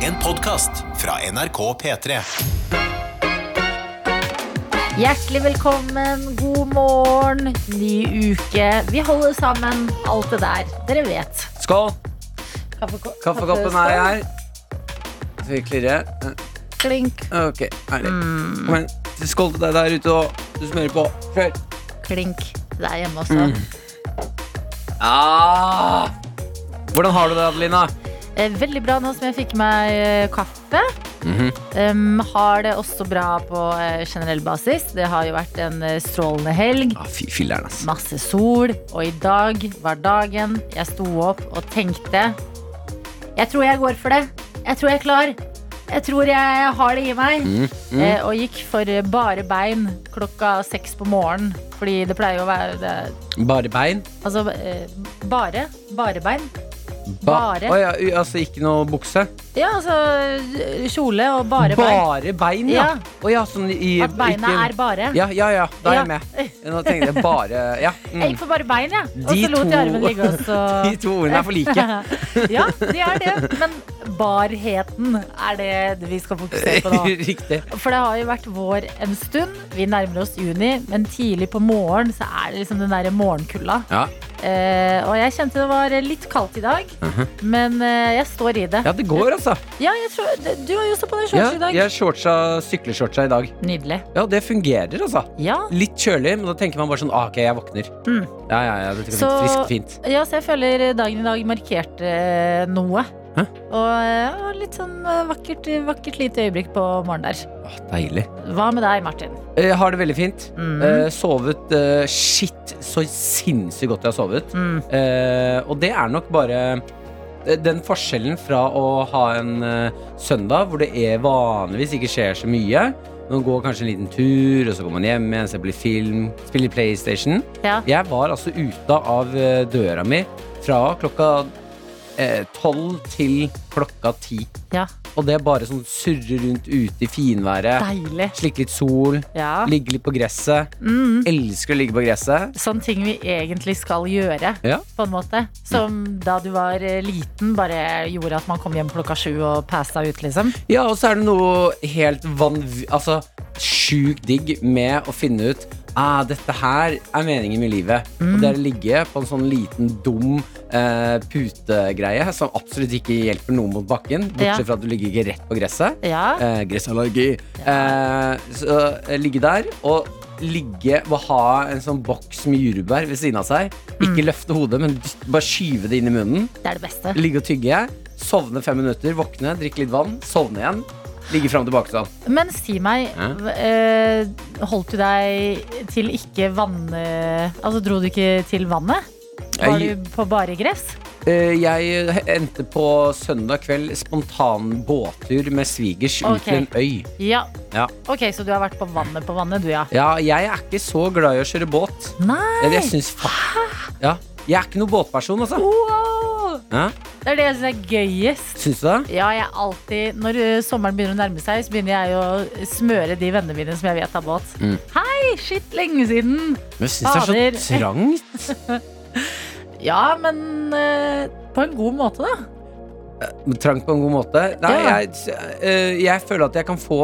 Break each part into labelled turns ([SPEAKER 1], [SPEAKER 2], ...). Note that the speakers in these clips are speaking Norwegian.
[SPEAKER 1] En podkast fra NRK P3.
[SPEAKER 2] Hjertelig velkommen, god morgen, ny uke. Vi holder sammen, alt det der. Dere vet.
[SPEAKER 3] Skål!
[SPEAKER 2] Kaffekoppen
[SPEAKER 3] Kaffekoppen er her. Så vi klirrer.
[SPEAKER 2] Klink,
[SPEAKER 3] Ok, herlig.
[SPEAKER 2] Mm.
[SPEAKER 3] Kom igjen. Skål til deg der ute, og du smører på. Kjør!
[SPEAKER 2] klink. Det er hjemme også.
[SPEAKER 3] Mm. Ah! Hvordan har du det, Adelina?
[SPEAKER 2] Eh, Veldig bra nå som jeg fikk meg eh, kaffe.
[SPEAKER 3] Mhm.
[SPEAKER 2] Em, har det også bra på eh, generell basis. Det har jo vært en eh, strålende helg.
[SPEAKER 3] Ah, fy filler'n, ass.
[SPEAKER 2] Masse sol, og i dag var dagen jeg sto opp og tenkte Jeg tror jeg går for det. Jeg tror jeg er klar. Jeg tror jeg har det i meg.
[SPEAKER 3] Mm,
[SPEAKER 2] Eh, og gikk for bare bein klokka seks på morgenen. Fordi det pleier jo å være det,
[SPEAKER 3] Bare bein?
[SPEAKER 2] Altså eh, bare. Bare bein.
[SPEAKER 3] Ba-
[SPEAKER 2] Bare.
[SPEAKER 3] Å ja, u- altså ikke noe bukse?
[SPEAKER 2] Ja, altså kjole og bare bein.
[SPEAKER 3] Bare bein, ja.
[SPEAKER 2] Ja.
[SPEAKER 3] Å ja, sånn i
[SPEAKER 2] At beina
[SPEAKER 3] ikke-
[SPEAKER 2] er bare.
[SPEAKER 3] Ja, ja, ja. Da er
[SPEAKER 2] Ja.
[SPEAKER 3] jeg med. Nå tenkte jeg bare Ja.
[SPEAKER 2] Jeg
[SPEAKER 3] Mm.
[SPEAKER 2] gikk for bare bein, jeg. Og
[SPEAKER 3] De
[SPEAKER 2] så lot jeg
[SPEAKER 3] to-
[SPEAKER 2] armen ligge. Og så
[SPEAKER 3] De to ordene er for like.
[SPEAKER 2] ja, det er det. Men barheten er det vi skal fokusere på nå.
[SPEAKER 3] Mm. Riktig.
[SPEAKER 2] For det har jo vært vår en stund. Vi nærmer oss juni, men tidlig på morgen så er det liksom den derre morgenkulda.
[SPEAKER 3] Ja.
[SPEAKER 2] Eh, og jeg kjente det var litt kaldt i dag, men eh, jeg står i det.
[SPEAKER 3] Mhm. ja, det går, altså.
[SPEAKER 2] Ja, jeg tror, du har jo også på deg
[SPEAKER 3] Ja,
[SPEAKER 2] shorts i dag.
[SPEAKER 3] jeg shortsa, sykleshortsa i dag.
[SPEAKER 2] Nydelig.
[SPEAKER 3] Ja, det fungerer, altså.
[SPEAKER 2] Ja.
[SPEAKER 3] Litt kjølig, men da tenker man bare sånn ah, Ok, jeg våkner.
[SPEAKER 2] Mm.
[SPEAKER 3] Ja, ja, ja, dette går
[SPEAKER 2] Så-
[SPEAKER 3] fint. Friskt, fint.
[SPEAKER 2] ja, så jeg føler dagen i dag markerte eh, noe.
[SPEAKER 3] Hæ?
[SPEAKER 2] Og ja, litt sånn eh, vakkert, vakkert lite øyeblikk på morgenen der.
[SPEAKER 3] Åh, Ah, deilig.
[SPEAKER 2] Hva med deg, Martin?
[SPEAKER 3] Jeg har det veldig fint.
[SPEAKER 2] Mm.
[SPEAKER 3] Eh, sovet eh, shit så sinnssykt godt jeg har sovet.
[SPEAKER 2] Mm.
[SPEAKER 3] Eh, og det er nok bare eh, den forskjellen fra å ha en eh, søndag hvor det er vanligvis ikke skjer så mye. Man går kanskje en liten tur, og så går man hjem igjen, ser på litt film, spiller PlayStation.
[SPEAKER 2] Ja.
[SPEAKER 3] Jeg var altså ute av eh, døra mi fra klokka eh, tolv til klokka ti.
[SPEAKER 2] ja.
[SPEAKER 3] Og det bare sånn surre rundt ute i finværet.
[SPEAKER 2] Deilig.
[SPEAKER 3] Slikke litt sol,
[SPEAKER 2] Ja.
[SPEAKER 3] ligge litt på gresset.
[SPEAKER 2] Mm.
[SPEAKER 3] Elsker å ligge på gresset.
[SPEAKER 2] Sånne ting vi egentlig skal gjøre,
[SPEAKER 3] Ja.
[SPEAKER 2] på en måte. Som da du var eh, liten, bare gjorde at man kom hjem klokka sju og passa ut, liksom.
[SPEAKER 3] Ja, og så er det noe helt vanv... Altså, sjukt digg med å finne ut ah, dette her er meningen med livet. Og det er å ligge på en sånn liten, dum eh, putegreie som absolutt ikke hjelper noen mot bakken,
[SPEAKER 2] Ja.
[SPEAKER 3] bortsett fra at du ligger ikke rett på gresset.
[SPEAKER 2] Ja.
[SPEAKER 3] Eh, gressallergi. Eh, så eh, ligge der og ligge og ha en sånn boks med jordbær ved siden av seg. Ikke løfte hodet, men dytt- bare skyve det inn i munnen.
[SPEAKER 2] Det er det beste.
[SPEAKER 3] Ligge og tygge. Sovne fem minutter, våkne, drikke litt vann, sovne igjen. Ligge fram og tilbake sånn.
[SPEAKER 2] Men si meg,
[SPEAKER 3] Ja.
[SPEAKER 2] eh, holdt du deg til ikke vann... eh, Altså, dro du ikke til vannet? Var
[SPEAKER 3] Jeg-
[SPEAKER 2] du på bare gress?
[SPEAKER 3] Eh, Jeg endte på søndag kveld spontan båttur med svigers
[SPEAKER 2] Ok.
[SPEAKER 3] ut til en øy.
[SPEAKER 2] Ja.
[SPEAKER 3] Ja.
[SPEAKER 2] Ok, så du har vært på vannet på vannet, du, ja.
[SPEAKER 3] Ja, jeg er ikke så glad i å kjøre båt.
[SPEAKER 2] Nei!
[SPEAKER 3] Eller jeg syns fa- ja. Jeg er ikke noen båtperson, altså.
[SPEAKER 2] Wow!
[SPEAKER 3] Ja.
[SPEAKER 2] Det er det jeg syns er gøyest.
[SPEAKER 3] Syns du det?
[SPEAKER 2] Ja, jeg er alltid Når ø, sommeren begynner å nærme seg, så begynner jeg å smøre de vennene mine som jeg vet har båt.
[SPEAKER 3] Mm.
[SPEAKER 2] Hei, shit, lenge siden!
[SPEAKER 3] Men jeg syns det er så
[SPEAKER 2] Fader.
[SPEAKER 3] trangt.
[SPEAKER 2] Ja, men ø, på en god måte, da.
[SPEAKER 3] Trangt på en god måte. Nei,
[SPEAKER 2] Ja.
[SPEAKER 3] jeg, eh, jeg føler at jeg kan få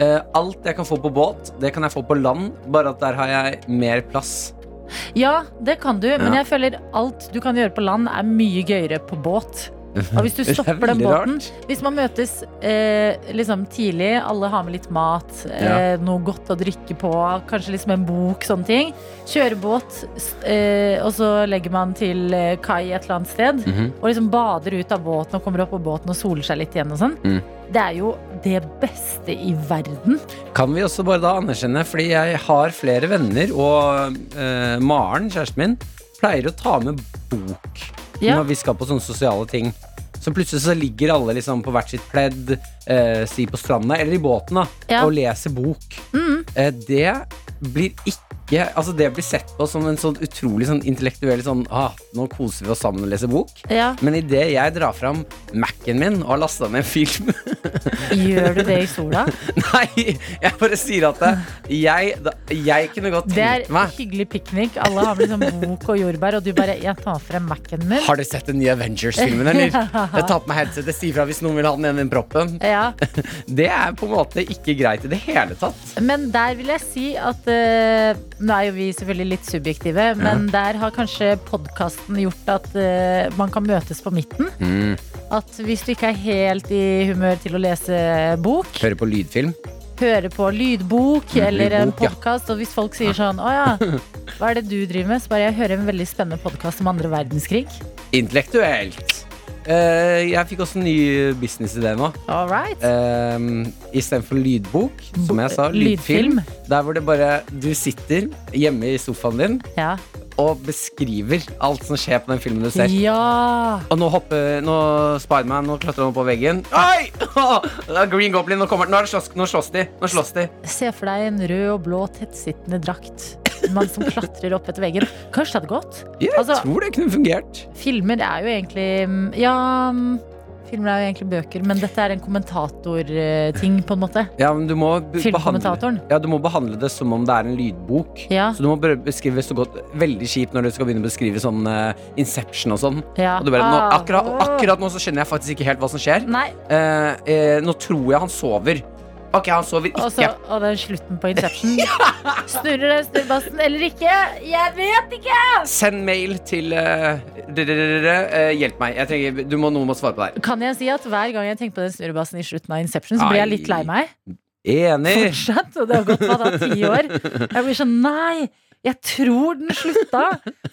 [SPEAKER 3] eh, alt jeg kan få på båt, det kan jeg få på land, bare at der har jeg mer plass.
[SPEAKER 2] Ja, det kan du, men
[SPEAKER 3] Ja.
[SPEAKER 2] jeg føler alt du kan gjøre på land, er mye gøyere på båt. Og hvis du
[SPEAKER 3] Det er
[SPEAKER 2] stopper den
[SPEAKER 3] veldig
[SPEAKER 2] båten
[SPEAKER 3] rart.
[SPEAKER 2] Hvis man møtes eh, liksom tidlig, alle har med litt mat, eh, noe godt å drikke på, kanskje liksom en bok, sånne ting. Kjøre båt, s- eh, og så legger man til eh, kai et eller annet sted.
[SPEAKER 3] Mhm.
[SPEAKER 2] Og liksom bader ut av båten og kommer opp på båten og soler seg litt igjen og sånn.
[SPEAKER 3] Mm.
[SPEAKER 2] Det er jo det beste i verden.
[SPEAKER 3] Kan vi også bare da anerkjenne, fordi jeg har flere venner, og eh, Maren, kjæresten min, pleier å ta med bok
[SPEAKER 2] Ja.
[SPEAKER 3] når vi skal på sånne sosiale ting. Så plutselig så ligger alle liksom på hvert sitt pledd, eh, si på stranda eller i båten, da,
[SPEAKER 2] Ja.
[SPEAKER 3] og leser bok.
[SPEAKER 2] Mm.
[SPEAKER 3] Eh, det blir ikke ikke Altså, det blir sett på som en sånn utrolig sånn intellektuell sånn ah, nå koser vi oss sammen og leser bok.
[SPEAKER 2] Ja,
[SPEAKER 3] Men idet jeg drar fram Mac-en min og har lasta ned en film
[SPEAKER 2] Gjør du det i sola?
[SPEAKER 3] Nei, jeg bare sier at det- jeg, da, jeg kunne godt
[SPEAKER 2] Det er
[SPEAKER 3] tenkt meg
[SPEAKER 2] hyggelig piknik. Alle har med liksom bok og jordbær, og du bare Jeg tar frem Mac-en min.
[SPEAKER 3] Har du sett den nye Avengers-filmen, eller? Jeg tar på meg headsetet, sier fra hvis noen vil ha den gjennom proppen.
[SPEAKER 2] Ja.
[SPEAKER 3] Det er på en måte ikke greit i det hele tatt.
[SPEAKER 2] Men der vil jeg si at eh, Nå er jo vi selvfølgelig litt subjektive, men der har kanskje podkasten gjort at eh, man kan møtes på midten.
[SPEAKER 3] Mm,
[SPEAKER 2] At hvis du ikke er helt i humør til å lese bok,
[SPEAKER 3] Hører på lydfilm.
[SPEAKER 2] høre på lydbok eller en
[SPEAKER 3] Mm, lydbok, ja.
[SPEAKER 2] podkast, og hvis folk sier sånn Å ja, hva er det du driver med? Så bare jeg hører en veldig spennende podkast om andre verdenskrig.
[SPEAKER 3] Intellektuelt. Eh, jeg fikk også en ny businessidé nå.
[SPEAKER 2] All right.
[SPEAKER 3] Uh, Istedenfor lydbok, som jeg sa, lydfilm.
[SPEAKER 2] Lydfilm.
[SPEAKER 3] Der hvor det bare du sitter hjemme i sofaen din
[SPEAKER 2] Ja.
[SPEAKER 3] og beskriver alt som skjer på den filmen du ser.
[SPEAKER 2] ja.
[SPEAKER 3] Og nå hopper nå Spiderman nå klatrer han opp på veggen. Oi! Det er Green Goblin, nå kommer Nå er det slåss, nå slåss de. Nå slåss de.
[SPEAKER 2] Se for deg en rød og blå tettsittende drakt. En mann som klatrer opp etter veggen. Kanskje det hadde gått?
[SPEAKER 3] Jeg
[SPEAKER 2] Altså-
[SPEAKER 3] tror det kunne fungert.
[SPEAKER 2] Filmer er jo egentlig mm, Ja, mm, filmer er jo egentlig bøker, men dette er en kommentatorting, på en måte.
[SPEAKER 3] Ja, men du må b- behandle,
[SPEAKER 2] Filmkommentatoren.
[SPEAKER 3] ja, du må behandle det som om det er en lydbok.
[SPEAKER 2] Ja.
[SPEAKER 3] Så du må bare beskrive så godt Veldig kjipt når du skal begynne å beskrive sånn eh, Inception og sånn.
[SPEAKER 2] Ja.
[SPEAKER 3] Og du bare, nå,
[SPEAKER 2] Ah.
[SPEAKER 3] akkurat, akkurat nå så skjønner jeg faktisk ikke helt hva som skjer.
[SPEAKER 2] Nei,
[SPEAKER 3] Eh, eh, nå tror jeg han sover. Ok, han sover ikke.
[SPEAKER 2] og så og den slutten på Inception. Snurrer den snurrebassen eller ikke? Jeg vet ikke!
[SPEAKER 3] Send mail til eh, d- d- d- d- eh, Hjelp meg. Jeg trenger, du må, noen må svare på det her.
[SPEAKER 2] Kan jeg si at hver gang jeg tenker på den snurrebassen i slutten av Inception, så blir jeg litt lei meg.
[SPEAKER 3] Enig.
[SPEAKER 2] Fortsatt, og det har gått hva da, ti år. Jeg blir sånn, nei, jeg tror den slutta,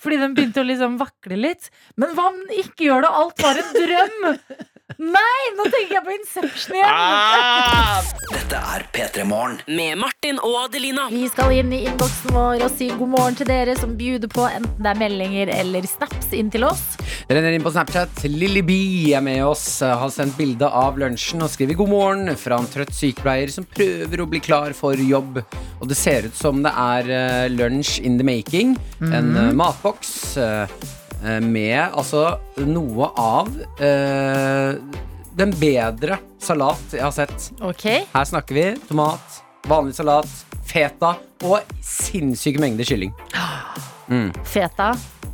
[SPEAKER 2] fordi den begynte å liksom vakle litt. Men hva om den ikke gjør det, og alt var en drøm? Nei, nå tenker jeg på Inception igjen.
[SPEAKER 4] Ah! Med Martin og Adelina.
[SPEAKER 2] Vi skal inn i innboksen vår og si god morgen til dere som bjuder på enten det er meldinger eller snaps inn til oss.
[SPEAKER 3] Renner inn på Snapchat. Lilly B er med oss. Har sendt bilde av lunsjen og skriver 'god morgen' fra en trøtt sykepleier som prøver å bli klar for jobb. Og det ser ut som det er eh, lunsj in the making. En eh, matboks eh, eh, med altså noe av eh, den bedre salat jeg har sett.
[SPEAKER 2] Ok,
[SPEAKER 3] Her snakker vi tomat, vanlig salat, feta og sinnssyke mengder kylling.
[SPEAKER 2] feta.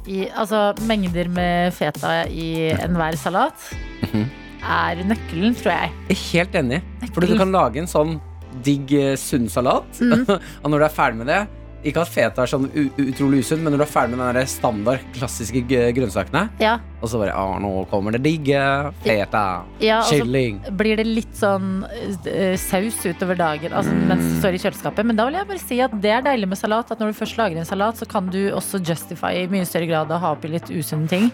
[SPEAKER 2] I, altså mengder med feta i enhver salat er nøkkelen, tror jeg.
[SPEAKER 3] Jeg er helt enig. Fordi du kan lage en sånn digg, eh, sunn salat.
[SPEAKER 2] Mm.
[SPEAKER 3] og når du er ferdig med det Ikke at feta er sånn u utrolig usunn, men når du er ferdig med den der standard klassiske g- grønnsakene,
[SPEAKER 2] Ja,
[SPEAKER 3] og så bare Å, nå kommer det digge feta.
[SPEAKER 2] ja altså, og så
[SPEAKER 3] Kylling.
[SPEAKER 2] blir det litt sånn eh, saus utover dagen altså, mens det står i kjøleskapet. Men da vil jeg bare si at det er deilig med salat. At når du først lager en salat, så kan du også justify i mye større grad å ha oppi litt usunne ting.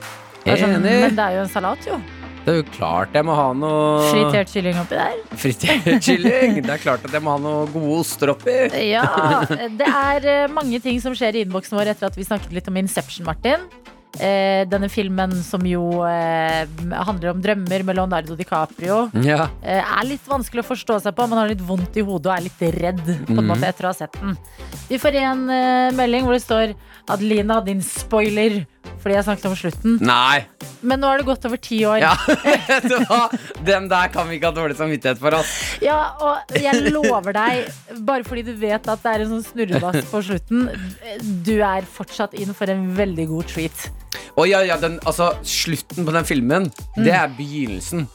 [SPEAKER 2] Det er sånn,
[SPEAKER 3] Enig.
[SPEAKER 2] men det er jo en salat, jo.
[SPEAKER 3] Det er jo klart jeg må ha noe
[SPEAKER 2] Fritert kylling oppi der.
[SPEAKER 3] Fritert kylling. Det er klart at jeg må ha noe gode oster oppi.
[SPEAKER 2] Ja, Det er eh, mange ting som skjer i innboksen vår etter at vi snakket litt om Inception, Martin. Eh, denne filmen som jo eh, handler om drømmer med Leonardo DiCaprio.
[SPEAKER 3] Ja.
[SPEAKER 2] eh, er litt vanskelig å forstå seg på. Man har litt vondt i hodet og er litt redd på en måte etter å ha sett den. Vi får en eh, melding hvor det står Adelina, din spoiler. Fordi jeg snakket om slutten.
[SPEAKER 3] Nei.
[SPEAKER 2] Men nå har det gått over ti år.
[SPEAKER 3] Ja, vet du hva? Den der kan vi ikke ha dårlig samvittighet for, ass.
[SPEAKER 2] Ja, og jeg lover deg, bare fordi du vet at det er en sånn snurrebass på slutten, du er fortsatt inn for en veldig god treat.
[SPEAKER 3] Å ja, ja, den, altså, slutten på den filmen, det
[SPEAKER 2] Mm.
[SPEAKER 3] er begynnelsen.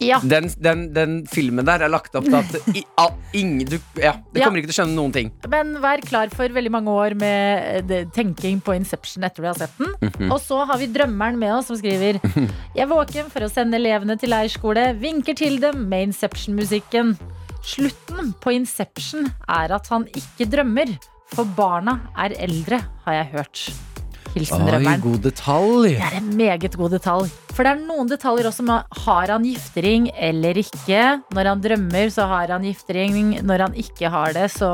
[SPEAKER 2] Ja.
[SPEAKER 3] Den, den, den filmen der er lagt opp til at i, a, ingen, du, ja, Du
[SPEAKER 2] Ja.
[SPEAKER 3] kommer ikke til å skjønne noen ting.
[SPEAKER 2] Men vær klar for veldig mange år med eh, det- tenking på Inception etter du har sett den. Og så har vi drømmeren med oss som skriver Jeg er våken for å sende elevene til leirskole, vinker til dem med Inception-musikken. Slutten på Inception er at han ikke drømmer, for barna er eldre, har jeg hørt. Hilsen drømmeren.
[SPEAKER 3] god detalj.
[SPEAKER 2] Det er en meget god detalj. For det er noen detaljer også med har han giftering eller ikke. Når han drømmer, så har han giftering. Når han ikke har det, så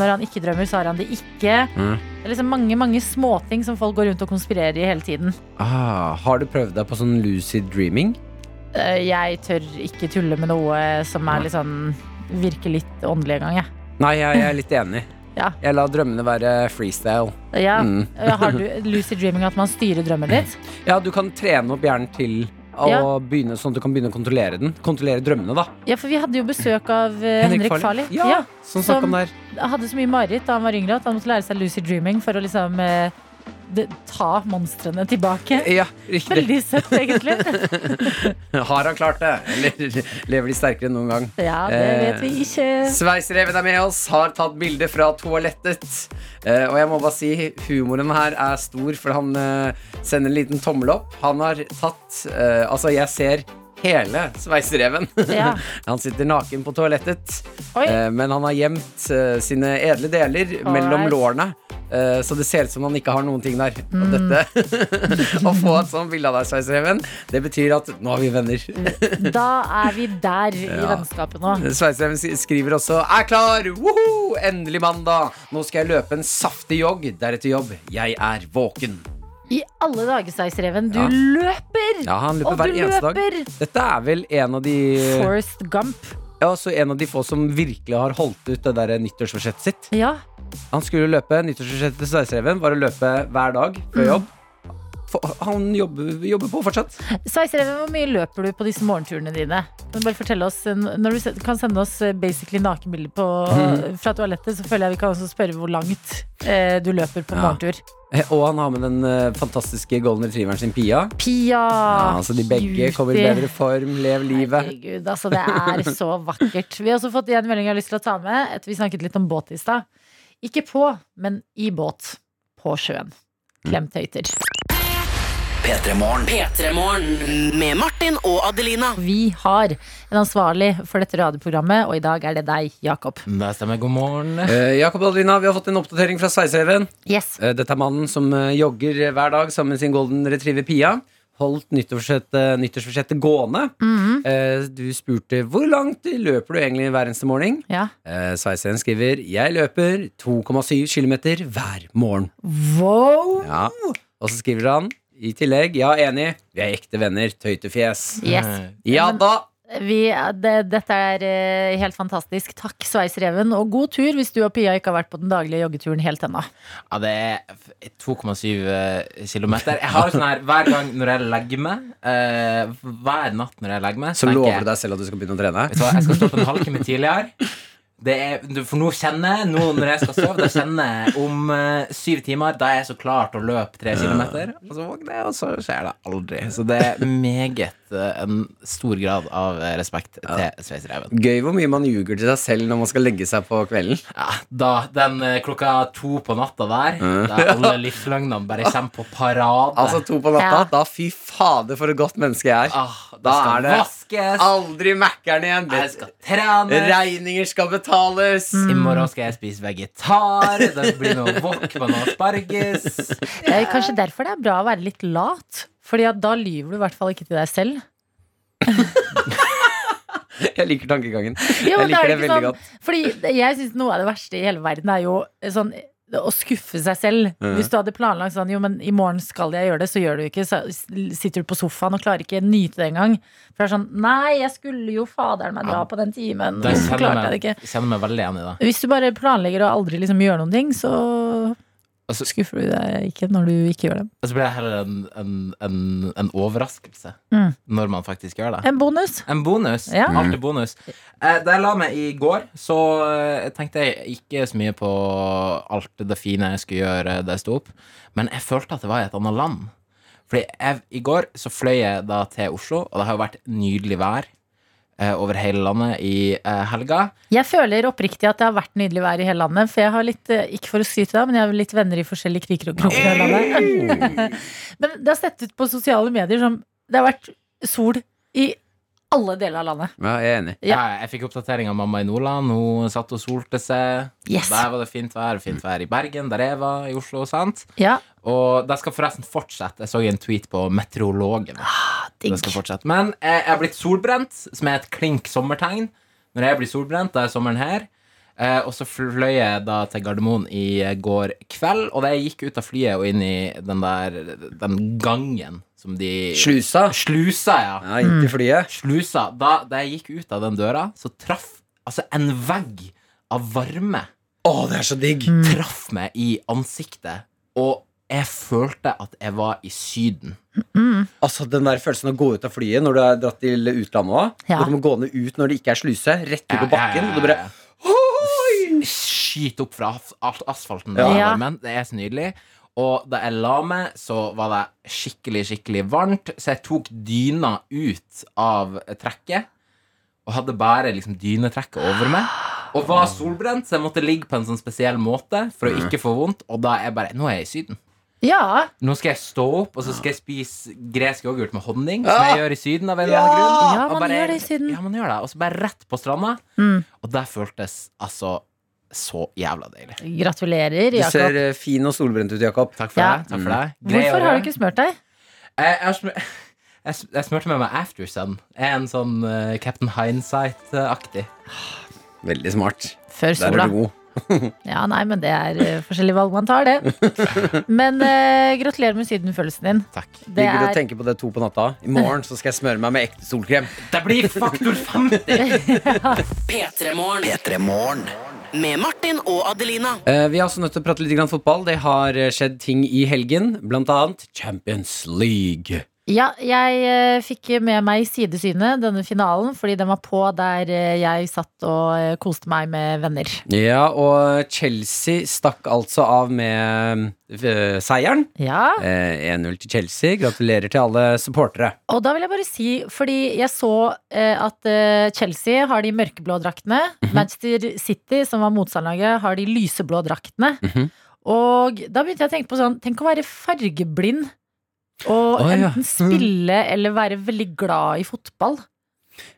[SPEAKER 2] Når han ikke drømmer, så har han det ikke.
[SPEAKER 3] Mm.
[SPEAKER 2] Det er liksom mange mange småting som folk går rundt og konspirerer i hele tiden.
[SPEAKER 3] Ah, har du prøvd deg på sånn lucid dreaming?
[SPEAKER 2] Eh, Jeg tør ikke tulle med noe som er liksom, litt sånn Virker litt åndelig en gang, jeg.
[SPEAKER 3] Nei, jeg, jeg er litt enig.
[SPEAKER 2] Ja.
[SPEAKER 3] Jeg lar drømmene være freestyle.
[SPEAKER 2] Ja.
[SPEAKER 3] Mm.
[SPEAKER 2] Eh, Har du lucid dreaming at man styrer drømmen ditt?
[SPEAKER 3] Ja, du kan trene opp hjernen til å
[SPEAKER 2] Ja.
[SPEAKER 3] begynne sånn at du kan begynne å kontrollere den. Kontrollere drømmene, da.
[SPEAKER 2] Ja, for vi hadde jo besøk av eh, Henrik, Farley.
[SPEAKER 3] Ja, som snakka om det her.
[SPEAKER 2] hadde så mye mareritt da han var yngre at han måtte lære seg lucid dreaming for å liksom eh, de, ta monstrene tilbake.
[SPEAKER 3] Ja, riktig.
[SPEAKER 2] Veldig søtt,
[SPEAKER 3] Eh,
[SPEAKER 2] egentlig.
[SPEAKER 3] Har han klart det? Eller lever de sterkere enn noen gang?
[SPEAKER 2] Ja, det vet vi ikke.
[SPEAKER 3] Sveisereven er med oss, har tatt bilde fra toalettet. Eh, og jeg må bare si, humoren her er stor, for han eh, sender en liten tommel opp. Han har tatt eh, Altså, jeg ser hele sveisereven.
[SPEAKER 2] Ja.
[SPEAKER 3] han sitter naken på toalettet,
[SPEAKER 2] Oi.
[SPEAKER 3] eh, men han har gjemt eh, sine edle deler mellom
[SPEAKER 2] Alright.
[SPEAKER 3] lårene. Eh, Så det ser ut som han ikke har noen ting der. Og
[SPEAKER 2] Mm.
[SPEAKER 3] dette Å få et sånt bilde av deg, Sveisereven, det betyr at nå er vi venner.
[SPEAKER 2] Da er vi der i
[SPEAKER 3] Ja.
[SPEAKER 2] vennskapet nå.
[SPEAKER 3] Sveisereven sk- skriver også Er klar! Woho! Endelig mandag! Nå skal jeg løpe en saftig jogg, deretter jobb. Jeg er våken.
[SPEAKER 2] I alle dager, Sveisereven, du
[SPEAKER 3] Ja.
[SPEAKER 2] løper!
[SPEAKER 3] Ja, han løper
[SPEAKER 2] Og
[SPEAKER 3] hver
[SPEAKER 2] du
[SPEAKER 3] eneste dag. Eh.
[SPEAKER 2] løper!
[SPEAKER 3] Dette er vel en av de
[SPEAKER 2] Forrest Gump.
[SPEAKER 3] Ja, også en av de få som virkelig har holdt ut det der nyttårsforsettet sitt.
[SPEAKER 2] Ja.
[SPEAKER 3] Han skulle løpe Nyttårsforsettet til Sveisereven var å løpe hver dag før jobb. For, han jobber, jobber på fortsatt.
[SPEAKER 2] Sveisereven, hvor mye løper du på disse morgenturene dine? Men bare fortell oss, eh, Når du se- kan sende oss eh, basically nakenbilder på- eh, fra toalettet, så føler jeg vi kan også spørre hvor langt eh, du løper på
[SPEAKER 3] Ja.
[SPEAKER 2] morgentur.
[SPEAKER 3] Eh, Og han har med den eh, fantastiske golden retrieveren sin, Pia.
[SPEAKER 2] Pia!
[SPEAKER 3] Ja, så de begge kommer i
[SPEAKER 2] cutie.
[SPEAKER 3] bedre form. Lev livet.
[SPEAKER 2] Herregud, altså det er så vakkert. Vi har også fått en melding jeg har lyst til å ta med etter vi snakket litt om båt i stad. Ikke på, men i båt. På sjøen. Klemt høyter.
[SPEAKER 4] P3morgen med Martin og Adelina.
[SPEAKER 2] Vi har en ansvarlig for dette radioprogrammet, og i dag er det deg, Jakob.
[SPEAKER 5] Det stemmer. God morgen.
[SPEAKER 3] Eh, Jakob og Adelina, vi har fått en oppdatering fra Sveisereven.
[SPEAKER 2] Yes.
[SPEAKER 3] Eh, Dette er mannen som eh, jogger eh, hver dag sammen med sin golden retriever Pia. Holdt nyttårsforsettet, nyttårsforsettet gående.
[SPEAKER 5] Mhm.
[SPEAKER 3] Eh, Du spurte hvor langt løper du egentlig hver eneste morgen.
[SPEAKER 2] Ja.
[SPEAKER 3] Eh, Sveiseren skriver jeg løper 2,7 km hver morgen.
[SPEAKER 2] Wow!
[SPEAKER 3] Ja. Og så skriver han i tillegg ja, enig, vi er ekte venner, tøytefjes.
[SPEAKER 2] Yes.
[SPEAKER 3] Ja da!
[SPEAKER 2] Vi, det, dette er eh, helt fantastisk. Takk, Sveisereven. Og god tur hvis du og Pia ikke har vært på den daglige joggeturen helt ennå.
[SPEAKER 5] Ja, det er f- 2,7 km. eh, Jeg har sånn her hver gang når jeg legger meg, eh, hver natt når jeg legger meg
[SPEAKER 3] Så
[SPEAKER 5] tenker
[SPEAKER 3] lover
[SPEAKER 5] jeg-
[SPEAKER 3] du deg selv at du skal begynne å trene?
[SPEAKER 5] Vet du hva, jeg skal stå opp en halvtime tidligere. Det er, du- for nå kjenner jeg, nå når jeg skal sove, da kjenner jeg om eh, syv timer Da er jeg så klar til å løpe tre kilometer. Altså, Og så våkner jeg, og så skjer det aldri. Så det er meget eh, en stor grad av eh, respekt til Sveisereven.
[SPEAKER 3] Gøy hvor mye man ljuger til seg selv når man skal legge seg på kvelden.
[SPEAKER 5] Ja, da, den eh, klokka to på natta der, da alle livsløgnene bare kommer på parade
[SPEAKER 3] Altså to på natta,
[SPEAKER 2] Ja.
[SPEAKER 3] da fy fader for et godt menneske jeg er.
[SPEAKER 5] ah,
[SPEAKER 3] da
[SPEAKER 5] skal
[SPEAKER 3] er det-
[SPEAKER 5] vaskes,
[SPEAKER 3] Aldri Mækkern igjen.
[SPEAKER 5] jeg skal trene
[SPEAKER 3] Regninger skal betales.
[SPEAKER 2] Mm.
[SPEAKER 5] I morgen skal jeg spise vegetar. Det blir noe wok med noe asparges.
[SPEAKER 2] Det er kanskje derfor det er bra å være litt lat. Fordi at da lyver du i hvert fall ikke til deg selv.
[SPEAKER 3] Jeg liker tankegangen.
[SPEAKER 2] Jo,
[SPEAKER 3] Jeg
[SPEAKER 2] men da
[SPEAKER 3] liker
[SPEAKER 2] er
[SPEAKER 3] det
[SPEAKER 2] det ikke
[SPEAKER 3] veldig
[SPEAKER 2] sånn-
[SPEAKER 3] godt.
[SPEAKER 2] Fordi det- jeg synes noe av det verste i hele verden er jo sånn å skuffe seg selv. Hvis du hadde planlagt sånn Jo, men i morgen skal jeg gjøre det, så gjør du ikke. Så s- sitter du på sofaen og klarer ikke nyte det engang. For det er sånn Nei, jeg skulle jo faderen meg dra på den timen.
[SPEAKER 5] Da
[SPEAKER 2] Så
[SPEAKER 5] kjenner
[SPEAKER 2] klarte
[SPEAKER 5] jeg
[SPEAKER 2] jeg det ikke.
[SPEAKER 5] meg, kjenner meg veldig igjen i det.
[SPEAKER 2] Hvis du bare planlegger og aldri liksom gjør noen ting, så
[SPEAKER 5] Og
[SPEAKER 3] Altså
[SPEAKER 5] så-
[SPEAKER 2] skuffer du deg ikke når du ikke gjør det.
[SPEAKER 5] Og så blir det heller en, en, en, en overraskelse
[SPEAKER 2] Mm.
[SPEAKER 5] når man faktisk gjør det.
[SPEAKER 2] En bonus.
[SPEAKER 5] En bonus.
[SPEAKER 2] Ja.
[SPEAKER 5] Alltid bonus. Eh, da jeg la meg i går, så eh, tenkte jeg ikke så mye på alt det fine jeg skulle gjøre da jeg sto opp, men jeg følte at jeg var i et annet land. Fordi jeg, I går så fløy jeg da til Oslo, og det har jo vært nydelig vær eh, over hele landet i eh, helga.
[SPEAKER 2] Jeg føler oppriktig at det har vært nydelig vær i hele landet. For jeg har litt, eh, ikke for å skryte deg, men jeg har litt venner i forskjellige kriker og kroker. i hele landet. men det har sett ut på sosiale medier som det har vært sol i alle deler av landet.
[SPEAKER 3] Ja, jeg er enig.
[SPEAKER 2] Ja.
[SPEAKER 5] Jeg, jeg fikk oppdatering av mamma i Nordland. Hun satt og solte seg.
[SPEAKER 2] Yes.
[SPEAKER 5] Der var det fint vær. Fint vær i Bergen, der jeg var, i Oslo. sant?
[SPEAKER 2] Ja,
[SPEAKER 5] Og det skal forresten fortsette. Jeg så en tweet på meteorologen. Det skal
[SPEAKER 2] digg.
[SPEAKER 5] fortsette. Men eh, jeg, jeg har blitt solbrent, som er et klink sommertegn. Når jeg blir solbrent, da er sommeren her. Eh, og så fløy jeg da til Gardermoen i eh, går kveld. Og da jeg gikk ut av flyet og inn i den der den gangen som de
[SPEAKER 3] Slusa.
[SPEAKER 5] Slusa, ja.
[SPEAKER 3] Ja,
[SPEAKER 2] Mm.
[SPEAKER 3] inn til flyet.
[SPEAKER 5] Slusa. Da, da jeg gikk ut av den døra, så traff altså en vegg av varme
[SPEAKER 3] Å, det er så digg!
[SPEAKER 2] Mm.
[SPEAKER 5] traff meg i ansiktet, og jeg følte at jeg var i Syden.
[SPEAKER 3] Altså, Den der følelsen av å gå ut av flyet når du er dratt til utlandet òg.
[SPEAKER 2] Ja.
[SPEAKER 3] Du kommer gående ut når det ikke er sluse, rett ut på bakken. Og du bare
[SPEAKER 5] S- Skyt opp fra af- alt asfalten.
[SPEAKER 3] Ja.
[SPEAKER 5] der,
[SPEAKER 2] Ja.
[SPEAKER 5] varmen. Det er så nydelig. Og da jeg la meg, så var det skikkelig, skikkelig varmt, så jeg tok dyna ut av trekket. Og hadde bare liksom dynetrekket over meg. Og var solbrent, så jeg måtte ligge på en sånn spesiell måte for å
[SPEAKER 3] Mm.
[SPEAKER 5] ikke få vondt. Og da er jeg bare Nå er jeg i Syden.
[SPEAKER 2] Ja.
[SPEAKER 5] Nå skal jeg stå opp, og så skal jeg spise gresk yoghurt med honning, som jeg gjør i Syden. av en eller annen grunn
[SPEAKER 2] Ja,
[SPEAKER 5] Og
[SPEAKER 2] man gjør det i Syden.
[SPEAKER 5] Ja, man gjør det, Og så bare rett på stranda.
[SPEAKER 2] Mm.
[SPEAKER 5] Og det føltes altså så jævla deilig.
[SPEAKER 2] Gratulerer,
[SPEAKER 3] Du ser
[SPEAKER 2] Jakob.
[SPEAKER 3] eh, fin og solbrent ut, Jakob.
[SPEAKER 5] Takk for
[SPEAKER 2] Ja. Mm.
[SPEAKER 5] det. takk for det Grei å
[SPEAKER 2] Hvorfor har
[SPEAKER 5] gjøre.
[SPEAKER 2] du ikke smurt deg?
[SPEAKER 5] jeg, jeg, har smør- jeg, s- jeg smurte meg med Aftersun. Jeg er en sånn eh, Captain Hindsight-aktig.
[SPEAKER 3] Veldig smart.
[SPEAKER 2] Før
[SPEAKER 3] Der
[SPEAKER 2] sola.
[SPEAKER 3] er du god.
[SPEAKER 2] Ja, nei, men det er eh, forskjellige valg man tar, det. Men eh, gratulerer med sydenfølelsen din.
[SPEAKER 5] Takk.
[SPEAKER 2] Det
[SPEAKER 3] Ligger og
[SPEAKER 2] er
[SPEAKER 3] tenker på det to på natta. I morgen så skal jeg smøre meg med ekte solkrem.
[SPEAKER 5] Det blir faktor 50!
[SPEAKER 4] P3-morgen. Med Martin og Adelina.
[SPEAKER 3] Eh, Vi er også nødt til å prate litt grann fotball. Det har eh, skjedd ting i helgen, blant annet Champions League.
[SPEAKER 2] Ja, jeg eh, fikk med meg i sidesynet denne finalen, fordi den var på der eh, jeg satt og eh, koste meg med venner.
[SPEAKER 3] Ja, og Chelsea stakk altså av med eh, seieren.
[SPEAKER 2] Ja,
[SPEAKER 3] Eh, 1-0 til Chelsea. Gratulerer til alle supportere.
[SPEAKER 2] Og da vil jeg bare si, fordi jeg så eh, at eh, Chelsea har de mørkeblå draktene.
[SPEAKER 3] Mhm.
[SPEAKER 2] Manchester City, som var motstanderlaget, har de lyseblå draktene.
[SPEAKER 3] Mhm.
[SPEAKER 2] Og da begynte jeg å tenke på sånn Tenk å være fargeblind. Og
[SPEAKER 3] Å, ja. Mhm.
[SPEAKER 2] enten spille eller være veldig glad i fotball.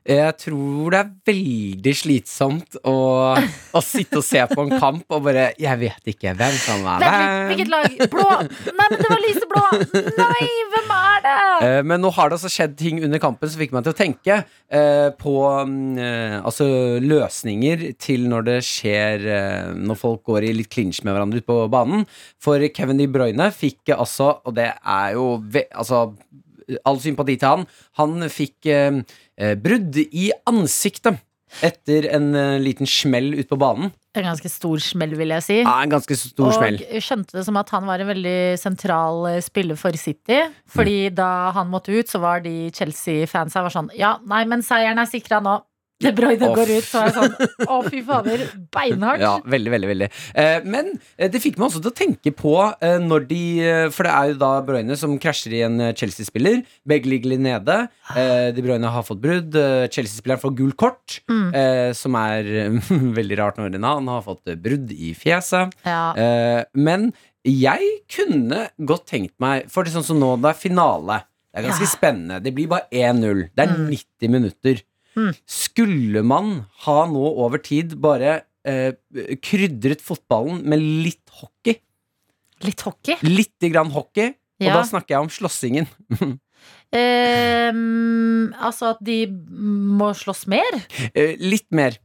[SPEAKER 3] Jeg tror det er veldig slitsomt å, å sitte og se på en kamp og bare Jeg vet ikke hvem som er
[SPEAKER 2] Vent litt,
[SPEAKER 3] hvem.
[SPEAKER 2] hvilket lag? Blå! Nei, men det var lyseblå! Nei, hvem er det?
[SPEAKER 3] Eh, Men nå har det altså skjedd ting under kampen som fikk meg til å tenke eh, på mm, eh, altså løsninger til når det skjer eh, Når folk går i litt clinch med hverandre ute på banen. For Kevin De Bruyne fikk eh, altså, og det er jo ve altså, all sympati til han, han fikk eh, eh, brudd i ansiktet. Etter en eh, liten smell ute på banen.
[SPEAKER 2] En ganske stor smell, vil jeg si.
[SPEAKER 3] Ja, en ganske stor smell.
[SPEAKER 2] Og skjønte det som at han var en veldig sentral eh, spiller for City. Fordi
[SPEAKER 3] Mm.
[SPEAKER 2] da han måtte ut, så var de Chelsea-fansa var sånn Ja, nei, men seieren er sikra nå. De Bruyne
[SPEAKER 3] Å,
[SPEAKER 2] går ut, så var jeg sånn Å, fy fader. Beinhardt.
[SPEAKER 3] Ja, veldig, veldig, veldig. Eh, men eh, det fikk meg også til å tenke på eh, når de eh, For det er jo da Brøyne som krasjer i en eh, Chelsea-spiller. Begge ligger litt nede. Eh, de Brøyne har fått brudd. Eh, Chelsea-spilleren får gult kort, eh, som er eh, veldig rart når han han har fått eh, brudd i fjeset.
[SPEAKER 2] Ja.
[SPEAKER 3] Eh, men jeg kunne godt tenkt meg For det er sånn som nå, det er finale. Det er ganske
[SPEAKER 2] Ja.
[SPEAKER 3] spennende. Det blir bare 1-0. Det er
[SPEAKER 2] Mm.
[SPEAKER 3] 90 minutter.
[SPEAKER 2] Mm.
[SPEAKER 3] Skulle man ha nå over tid bare eh, krydret fotballen med litt hockey?
[SPEAKER 2] Litt hockey.
[SPEAKER 3] Lite grann hockey. Og
[SPEAKER 2] Ja.
[SPEAKER 3] da snakker jeg om slåssingen.
[SPEAKER 2] Ehm, altså at de må slåss mer.
[SPEAKER 3] Eh, litt mer.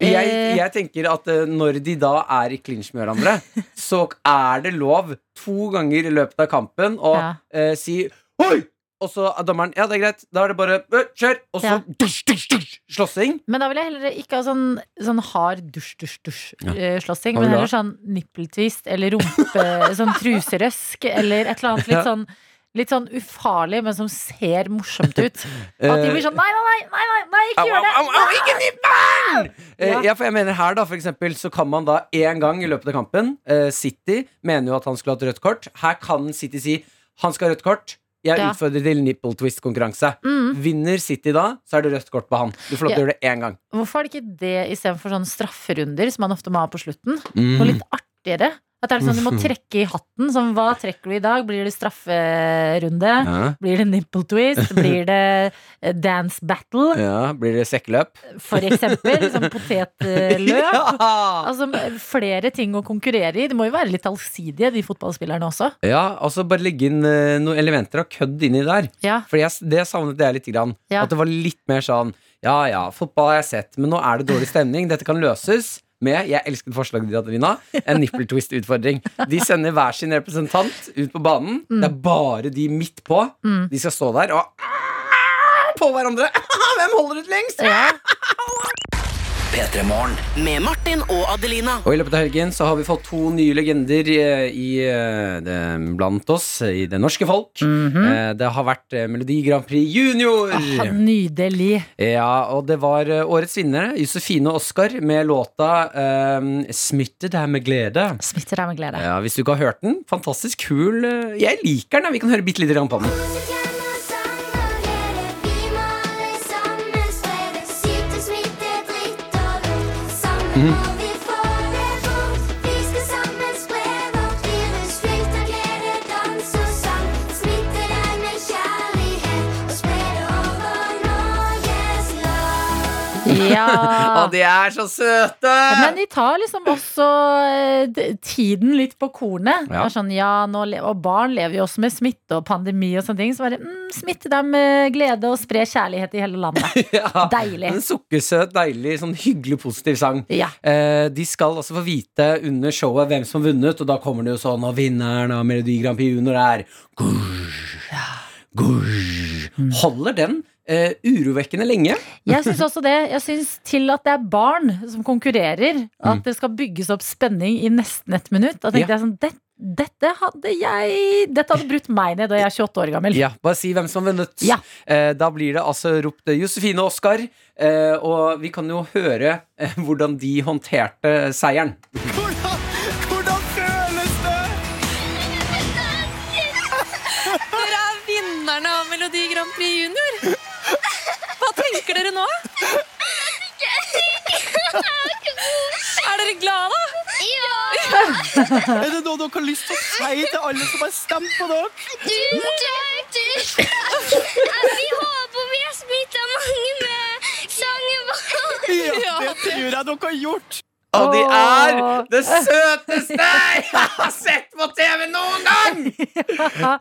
[SPEAKER 3] Jeg,
[SPEAKER 2] Eh.
[SPEAKER 3] jeg tenker at eh, når de da er i clinch med hverandre, så er det lov to ganger i løpet av kampen å
[SPEAKER 2] Ja.
[SPEAKER 3] eh, si Oi! Og så er dommeren Ja, det er greit. Da er det bare «Ø, kjør! Og så
[SPEAKER 2] Ja.
[SPEAKER 3] dusj, dusj, dusj, slåssing.
[SPEAKER 2] Men da vil jeg heller ikke ha sånn, sånn hard
[SPEAKER 3] Ja.
[SPEAKER 2] dusj-dusj-dusj-slåssing,
[SPEAKER 3] Hva vil
[SPEAKER 2] eh, men
[SPEAKER 3] du
[SPEAKER 2] heller sånn nippeltvist eller rumpe, sånn truserøsk eller et eller annet litt
[SPEAKER 3] Ja.
[SPEAKER 2] sånn Litt sånn ufarlig, men som ser morsomt ut. At de blir sånn Nei, nei, nei! nei, nei, nei ikke
[SPEAKER 3] Au,
[SPEAKER 2] gjør
[SPEAKER 3] au, au,
[SPEAKER 2] det!
[SPEAKER 3] au, ikke nipp meg! Eh,
[SPEAKER 2] Ja.
[SPEAKER 3] ja, for jeg mener her da, for eksempel, så kan man da én gang i løpet av kampen eh, City mener jo at han skulle hatt rødt kort. Her kan City si han skal ha rødt kort. Jeg
[SPEAKER 2] Ja.
[SPEAKER 3] utfordrer til nipple twist-konkurranse.
[SPEAKER 2] Mm.
[SPEAKER 3] Vinner City da, så er det rødt kort på han. Du får lov til å gjøre det én gang.
[SPEAKER 2] Hvorfor er det ikke det istedenfor sånne sånn strafferunder som man ofte må ha på slutten?
[SPEAKER 3] Mm.
[SPEAKER 2] Noe litt artigere? At det er litt sånn du må trekke i hatten. Sånn, hva trekker du i dag? Blir det strafferunde?
[SPEAKER 3] Ja,
[SPEAKER 2] Blir det nipple twist? Blir det eh, dance battle?
[SPEAKER 3] ja, Blir det sekkeløp?
[SPEAKER 2] For eksempel sånn potetløp.
[SPEAKER 3] Ja!
[SPEAKER 2] Altså flere ting å konkurrere i. De må jo være litt allsidige, de fotballspillerne også.
[SPEAKER 3] ja, og så bare legge inn eh, noen elementer av kødd inni der.
[SPEAKER 2] Ja,
[SPEAKER 3] Fordi jeg, det savnet jeg litt. Grann.
[SPEAKER 2] Ja.
[SPEAKER 3] At det var litt mer sånn Ja ja, fotball har jeg sett, men nå er det dårlig stemning. Dette kan løses med Jeg elsket forslaget ditt, Adelina. En nipple twist-utfordring. De sender hver sin representant ut på banen.
[SPEAKER 2] Mm.
[SPEAKER 3] Det er bare de midt på. De skal stå der "Ah!" og på hverandre. Hvem holder ut lengst?
[SPEAKER 2] ja.
[SPEAKER 4] Med Martin og Adelina.
[SPEAKER 3] Og i løpet av helgen så har vi fått to nye legender eh, i, eh, det, blant oss i det norske folk. Eh, Det har vært eh, Melodi Grand Prix Junior.
[SPEAKER 2] Ah, nydelig.
[SPEAKER 3] Ja, og det var eh, årets vinnere, Josefine Oskar, med låta eh, 'Smittet er med glede'.
[SPEAKER 2] Smitter deg med glede.
[SPEAKER 3] Ja, Hvis du ikke har hørt den, fantastisk kul. eh, Jeg liker den. ja. Vi kan høre bitte lite grann på den.
[SPEAKER 6] er
[SPEAKER 2] Ja.
[SPEAKER 3] Å, de er så søte!
[SPEAKER 2] Men de tar liksom også eh, d- tiden litt på kornet. Det
[SPEAKER 3] Ja.
[SPEAKER 2] er sånn, ja, nå le og barn lever jo også med smitte og pandemi og sånne ting. Så bare mm, smitte dem med glede og spre kjærlighet i hele landet.
[SPEAKER 3] Ja,
[SPEAKER 2] Deilig.
[SPEAKER 3] En sukkersøt, deilig, sånn hyggelig positiv sang.
[SPEAKER 2] Ja.
[SPEAKER 3] Eh, de skal altså få vite under showet hvem som har vunnet, og da kommer det jo sånn Og vinneren av Melodi Grand Prix Junior er Gurr, gurr. Holder den eh, urovekkende lenge?
[SPEAKER 2] Jeg syns også det. Jeg syns til at det er barn som konkurrerer, at det skal bygges opp spenning i nesten ett minutt. Da tenkte
[SPEAKER 3] Mm. Ja.
[SPEAKER 2] jeg sånn det, dette hadde jeg Dette hadde brutt meg ned da jeg er 28 år gammel.
[SPEAKER 3] Ja, Bare si hvem som har vunnet.
[SPEAKER 2] Ja.
[SPEAKER 3] Eh, da blir det altså ropt eh, Josefine og Oskar, eh, og vi kan jo høre eh, hvordan de håndterte seieren.
[SPEAKER 7] Dere er vinnerne av Melodi Grand Prix Junior. Hva tenker dere nå? Er dere glade?
[SPEAKER 8] Er det noe dere har lyst til å si til alle som har stemt på dere?
[SPEAKER 9] Vi håper vi har smitta mange med sangen vår.
[SPEAKER 8] Ja, det tror jeg dere har gjort.
[SPEAKER 3] Og de er
[SPEAKER 2] Åh.
[SPEAKER 3] det søteste jeg har sett på TV noen gang!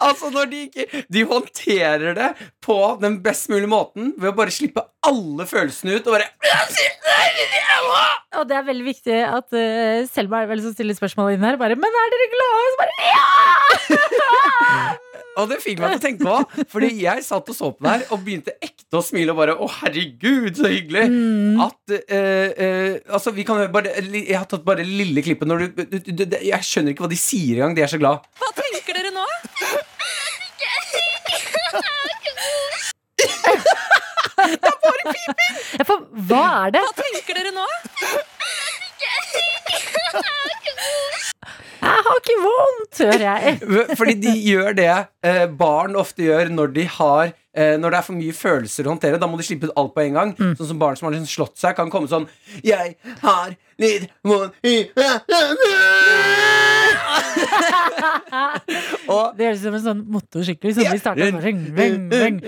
[SPEAKER 3] Altså når De ikke De håndterer det på den best mulige måten ved å bare slippe alle følelsene ut og bare
[SPEAKER 2] Og det er veldig viktig at eh, Selma er det vel som stiller spørsmål inn her. Bare, Men er dere glade? Så bare,
[SPEAKER 3] Og det fikk meg til å tenke på, fordi jeg satt og så på det her og begynte ekte å smile og bare Å, herregud, så hyggelig! At eh, eh, Altså, vi kan høre bare Jeg har tatt bare lille klippet når du, du, du, du Jeg skjønner ikke hva de sier engang. De er så glad.
[SPEAKER 7] Hva tenker dere nå?
[SPEAKER 2] Jeg får, hva er det?
[SPEAKER 7] Hva tenker dere nå?
[SPEAKER 2] Jeg har ikke vondt, hører jeg.
[SPEAKER 3] Fordi de gjør det eh, barn ofte gjør når de har eh, Når det er for mye følelser å håndtere. Da må de slippe ut alt på en gang. Sånn som barn som har liksom slått seg, kan komme sånn Jeg har litt vondt i Og
[SPEAKER 2] Det høres ut som en sånn motorsykkel som vi starta med. Ring, ring, ring.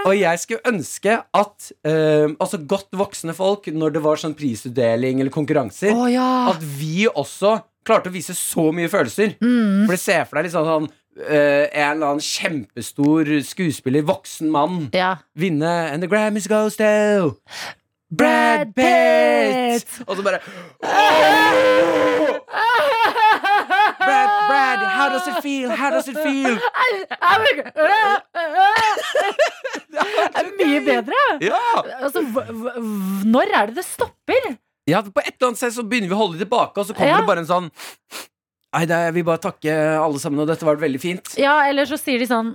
[SPEAKER 3] og jeg skulle ønske at eh, altså godt voksne folk, når det var sånn prisutdeling eller konkurranser,
[SPEAKER 2] Å ja.
[SPEAKER 3] at vi også klarte å vise så mye følelser.
[SPEAKER 2] Mm.
[SPEAKER 3] For det ser for deg liksom sånn eh, En eller annen kjempestor skuespiller, voksen mann,
[SPEAKER 2] ja.
[SPEAKER 3] vinne And the Grammys goes to Brad
[SPEAKER 2] Brad Pitt!
[SPEAKER 3] Pitt! Og så bare «Åh!» Brad, Brad, how does it feel? How does it feel?
[SPEAKER 2] Det er mye bedre.
[SPEAKER 3] Ja!
[SPEAKER 2] Altså, hva- hva- hva- når er det det stopper?
[SPEAKER 3] Ja, på et eller annet sted så begynner vi å holde det tilbake, og så kommer
[SPEAKER 2] Ja.
[SPEAKER 3] det bare en sånn Nei, det er- jeg vil bare takke alle sammen, og dette har vært veldig fint.
[SPEAKER 2] Ja, eller så sier de sånn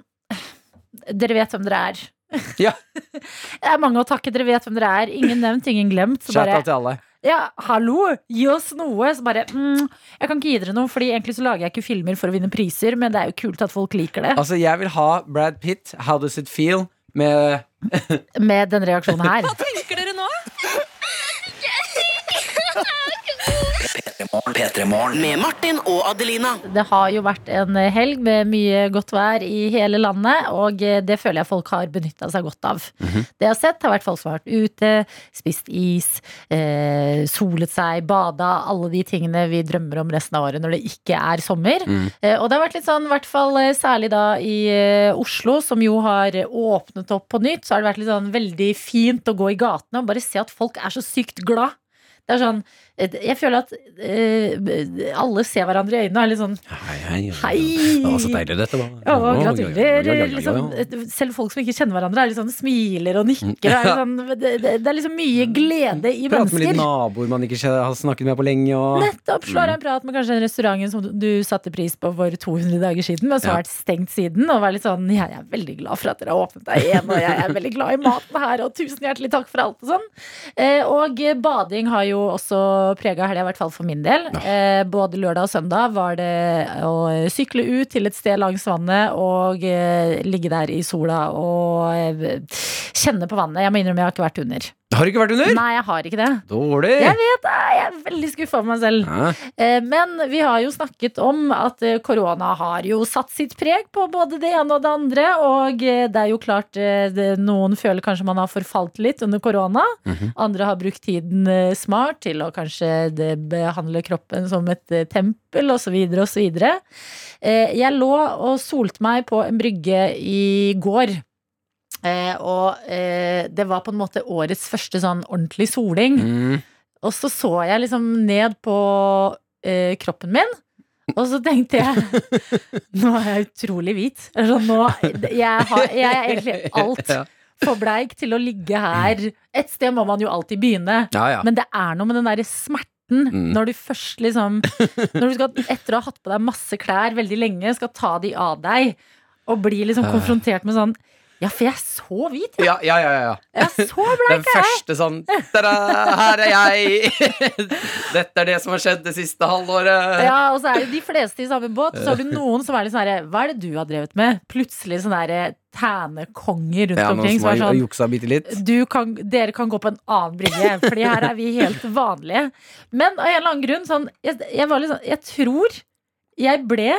[SPEAKER 2] Dere vet hvem dere er.
[SPEAKER 3] Ja.
[SPEAKER 2] Det er mange å takke. Dere vet hvem dere er. Ingen nevnt, ingen glemt. Så
[SPEAKER 3] Shout
[SPEAKER 2] bare
[SPEAKER 3] out til alle.
[SPEAKER 2] Ja, hallo, gi oss noe. Så bare mm, Jeg kan ikke gi dere noe, Fordi egentlig så lager jeg ikke filmer for å vinne priser, men det er jo kult at folk liker det.
[SPEAKER 3] Altså, jeg vil ha Brad Pitt, How Does It Feel, med
[SPEAKER 2] Med den reaksjonen her.
[SPEAKER 7] Hva tenker dere nå?
[SPEAKER 4] Med Martin og Adelina.
[SPEAKER 2] Det har jo vært en helg med mye godt vær i hele landet, og eh, det føler jeg folk har benytta seg godt av. Det jeg har sett, har vært folk som har vært ute, spist is, eh, solet seg, bada. Alle de tingene vi drømmer om resten av året når det ikke er sommer. Eh, og det har vært litt sånn, i hvert fall eh, særlig da i eh, Oslo, som jo har åpnet opp på nytt, så har det vært litt sånn veldig fint å gå i gatene og bare se at folk er så sykt glad. Det er sånn Jeg føler at eh, alle ser hverandre i øynene og er litt sånn
[SPEAKER 3] Hei, hei.
[SPEAKER 2] Hei!
[SPEAKER 3] Det var så deilig, dette. var.
[SPEAKER 2] Ja, og
[SPEAKER 3] Ja, ja, ja, ja, ja, ja,
[SPEAKER 2] gratulerer.
[SPEAKER 3] ja.
[SPEAKER 2] Liksom, selv folk som ikke kjenner hverandre, er litt sånn smiler og nikker. Det er, liksom, det, det, det er liksom mye glede i
[SPEAKER 3] Prate med litt
[SPEAKER 2] mennesker.
[SPEAKER 3] naboer man ikke har snakket med på lenge. Og...
[SPEAKER 2] Nettopp slår jeg en prat med kanskje den restauranten som du satte pris på for 200 dager siden, men som
[SPEAKER 3] Ja.
[SPEAKER 2] har vært stengt siden. Og var litt sånn Jeg er veldig glad for at dere har åpnet deg igjen, og jeg er veldig glad i maten her, og tusen hjertelig takk for alt og sånn. Eh, Og bading har jo også prega helga, i hvert fall for min del. Eh, Både lørdag og søndag var det å sykle ut til et sted langs vannet og eh, ligge der i sola og eh, kjenne på vannet. Jeg må innrømme jeg har ikke vært under.
[SPEAKER 3] Har du ikke vært under?
[SPEAKER 2] Nei, jeg har ikke det.
[SPEAKER 3] Dårlig!
[SPEAKER 2] Jeg vet det! Jeg er veldig skuffa over meg selv.
[SPEAKER 3] Hæ?
[SPEAKER 2] Eh, Men vi har jo snakket om at eh, korona har jo satt sitt preg på både det ene og det andre. Og eh, det er jo klart eh, det- noen føler kanskje man har forfalt litt under korona. Andre har brukt tiden eh, smart til å kanskje det- behandle kroppen som et eh, tempel osv. osv. Eh, Jeg lå og solte meg på en brygge i går. Eh, og eh, det var på en måte årets første sånn ordentlig soling.
[SPEAKER 3] Mm.
[SPEAKER 2] Og så så jeg liksom ned på eh, kroppen min, og så tenkte jeg Nå er jeg utrolig hvit. Altså, nå, jeg, har, jeg er egentlig alt
[SPEAKER 3] Ja.
[SPEAKER 2] for bleik til å ligge her. Et sted må man jo alltid begynne,
[SPEAKER 3] Ja, ja.
[SPEAKER 2] men det er noe med den derre smerten
[SPEAKER 3] Mm.
[SPEAKER 2] når du først liksom Når du skal, etter å ha hatt på deg masse klær veldig lenge, skal ta de av deg, og bli
[SPEAKER 3] Ah.
[SPEAKER 2] liksom konfrontert med sånn Ja, for jeg er så hvit!
[SPEAKER 3] ja, ja, ja, ja.
[SPEAKER 2] Jeg er så bleik!
[SPEAKER 3] Den første sånn «Tada, Her er jeg! Dette er det som har skjedd det siste halvåret.
[SPEAKER 2] Ja, og så er det de fleste i samme båt. Så har du noen som er litt sånn herre Hva er det du har drevet med? Plutselig sånne herre tænekonger rundt
[SPEAKER 3] Ja, noen
[SPEAKER 2] omkring
[SPEAKER 3] som
[SPEAKER 2] som er
[SPEAKER 3] har
[SPEAKER 2] sånn
[SPEAKER 3] juksa bitte litt.
[SPEAKER 2] du kan, dere kan gå på en annen brygge, Fordi her er vi helt vanlige. Men av en eller annen grunn sånn, jeg, jeg, var litt sånn, jeg tror jeg ble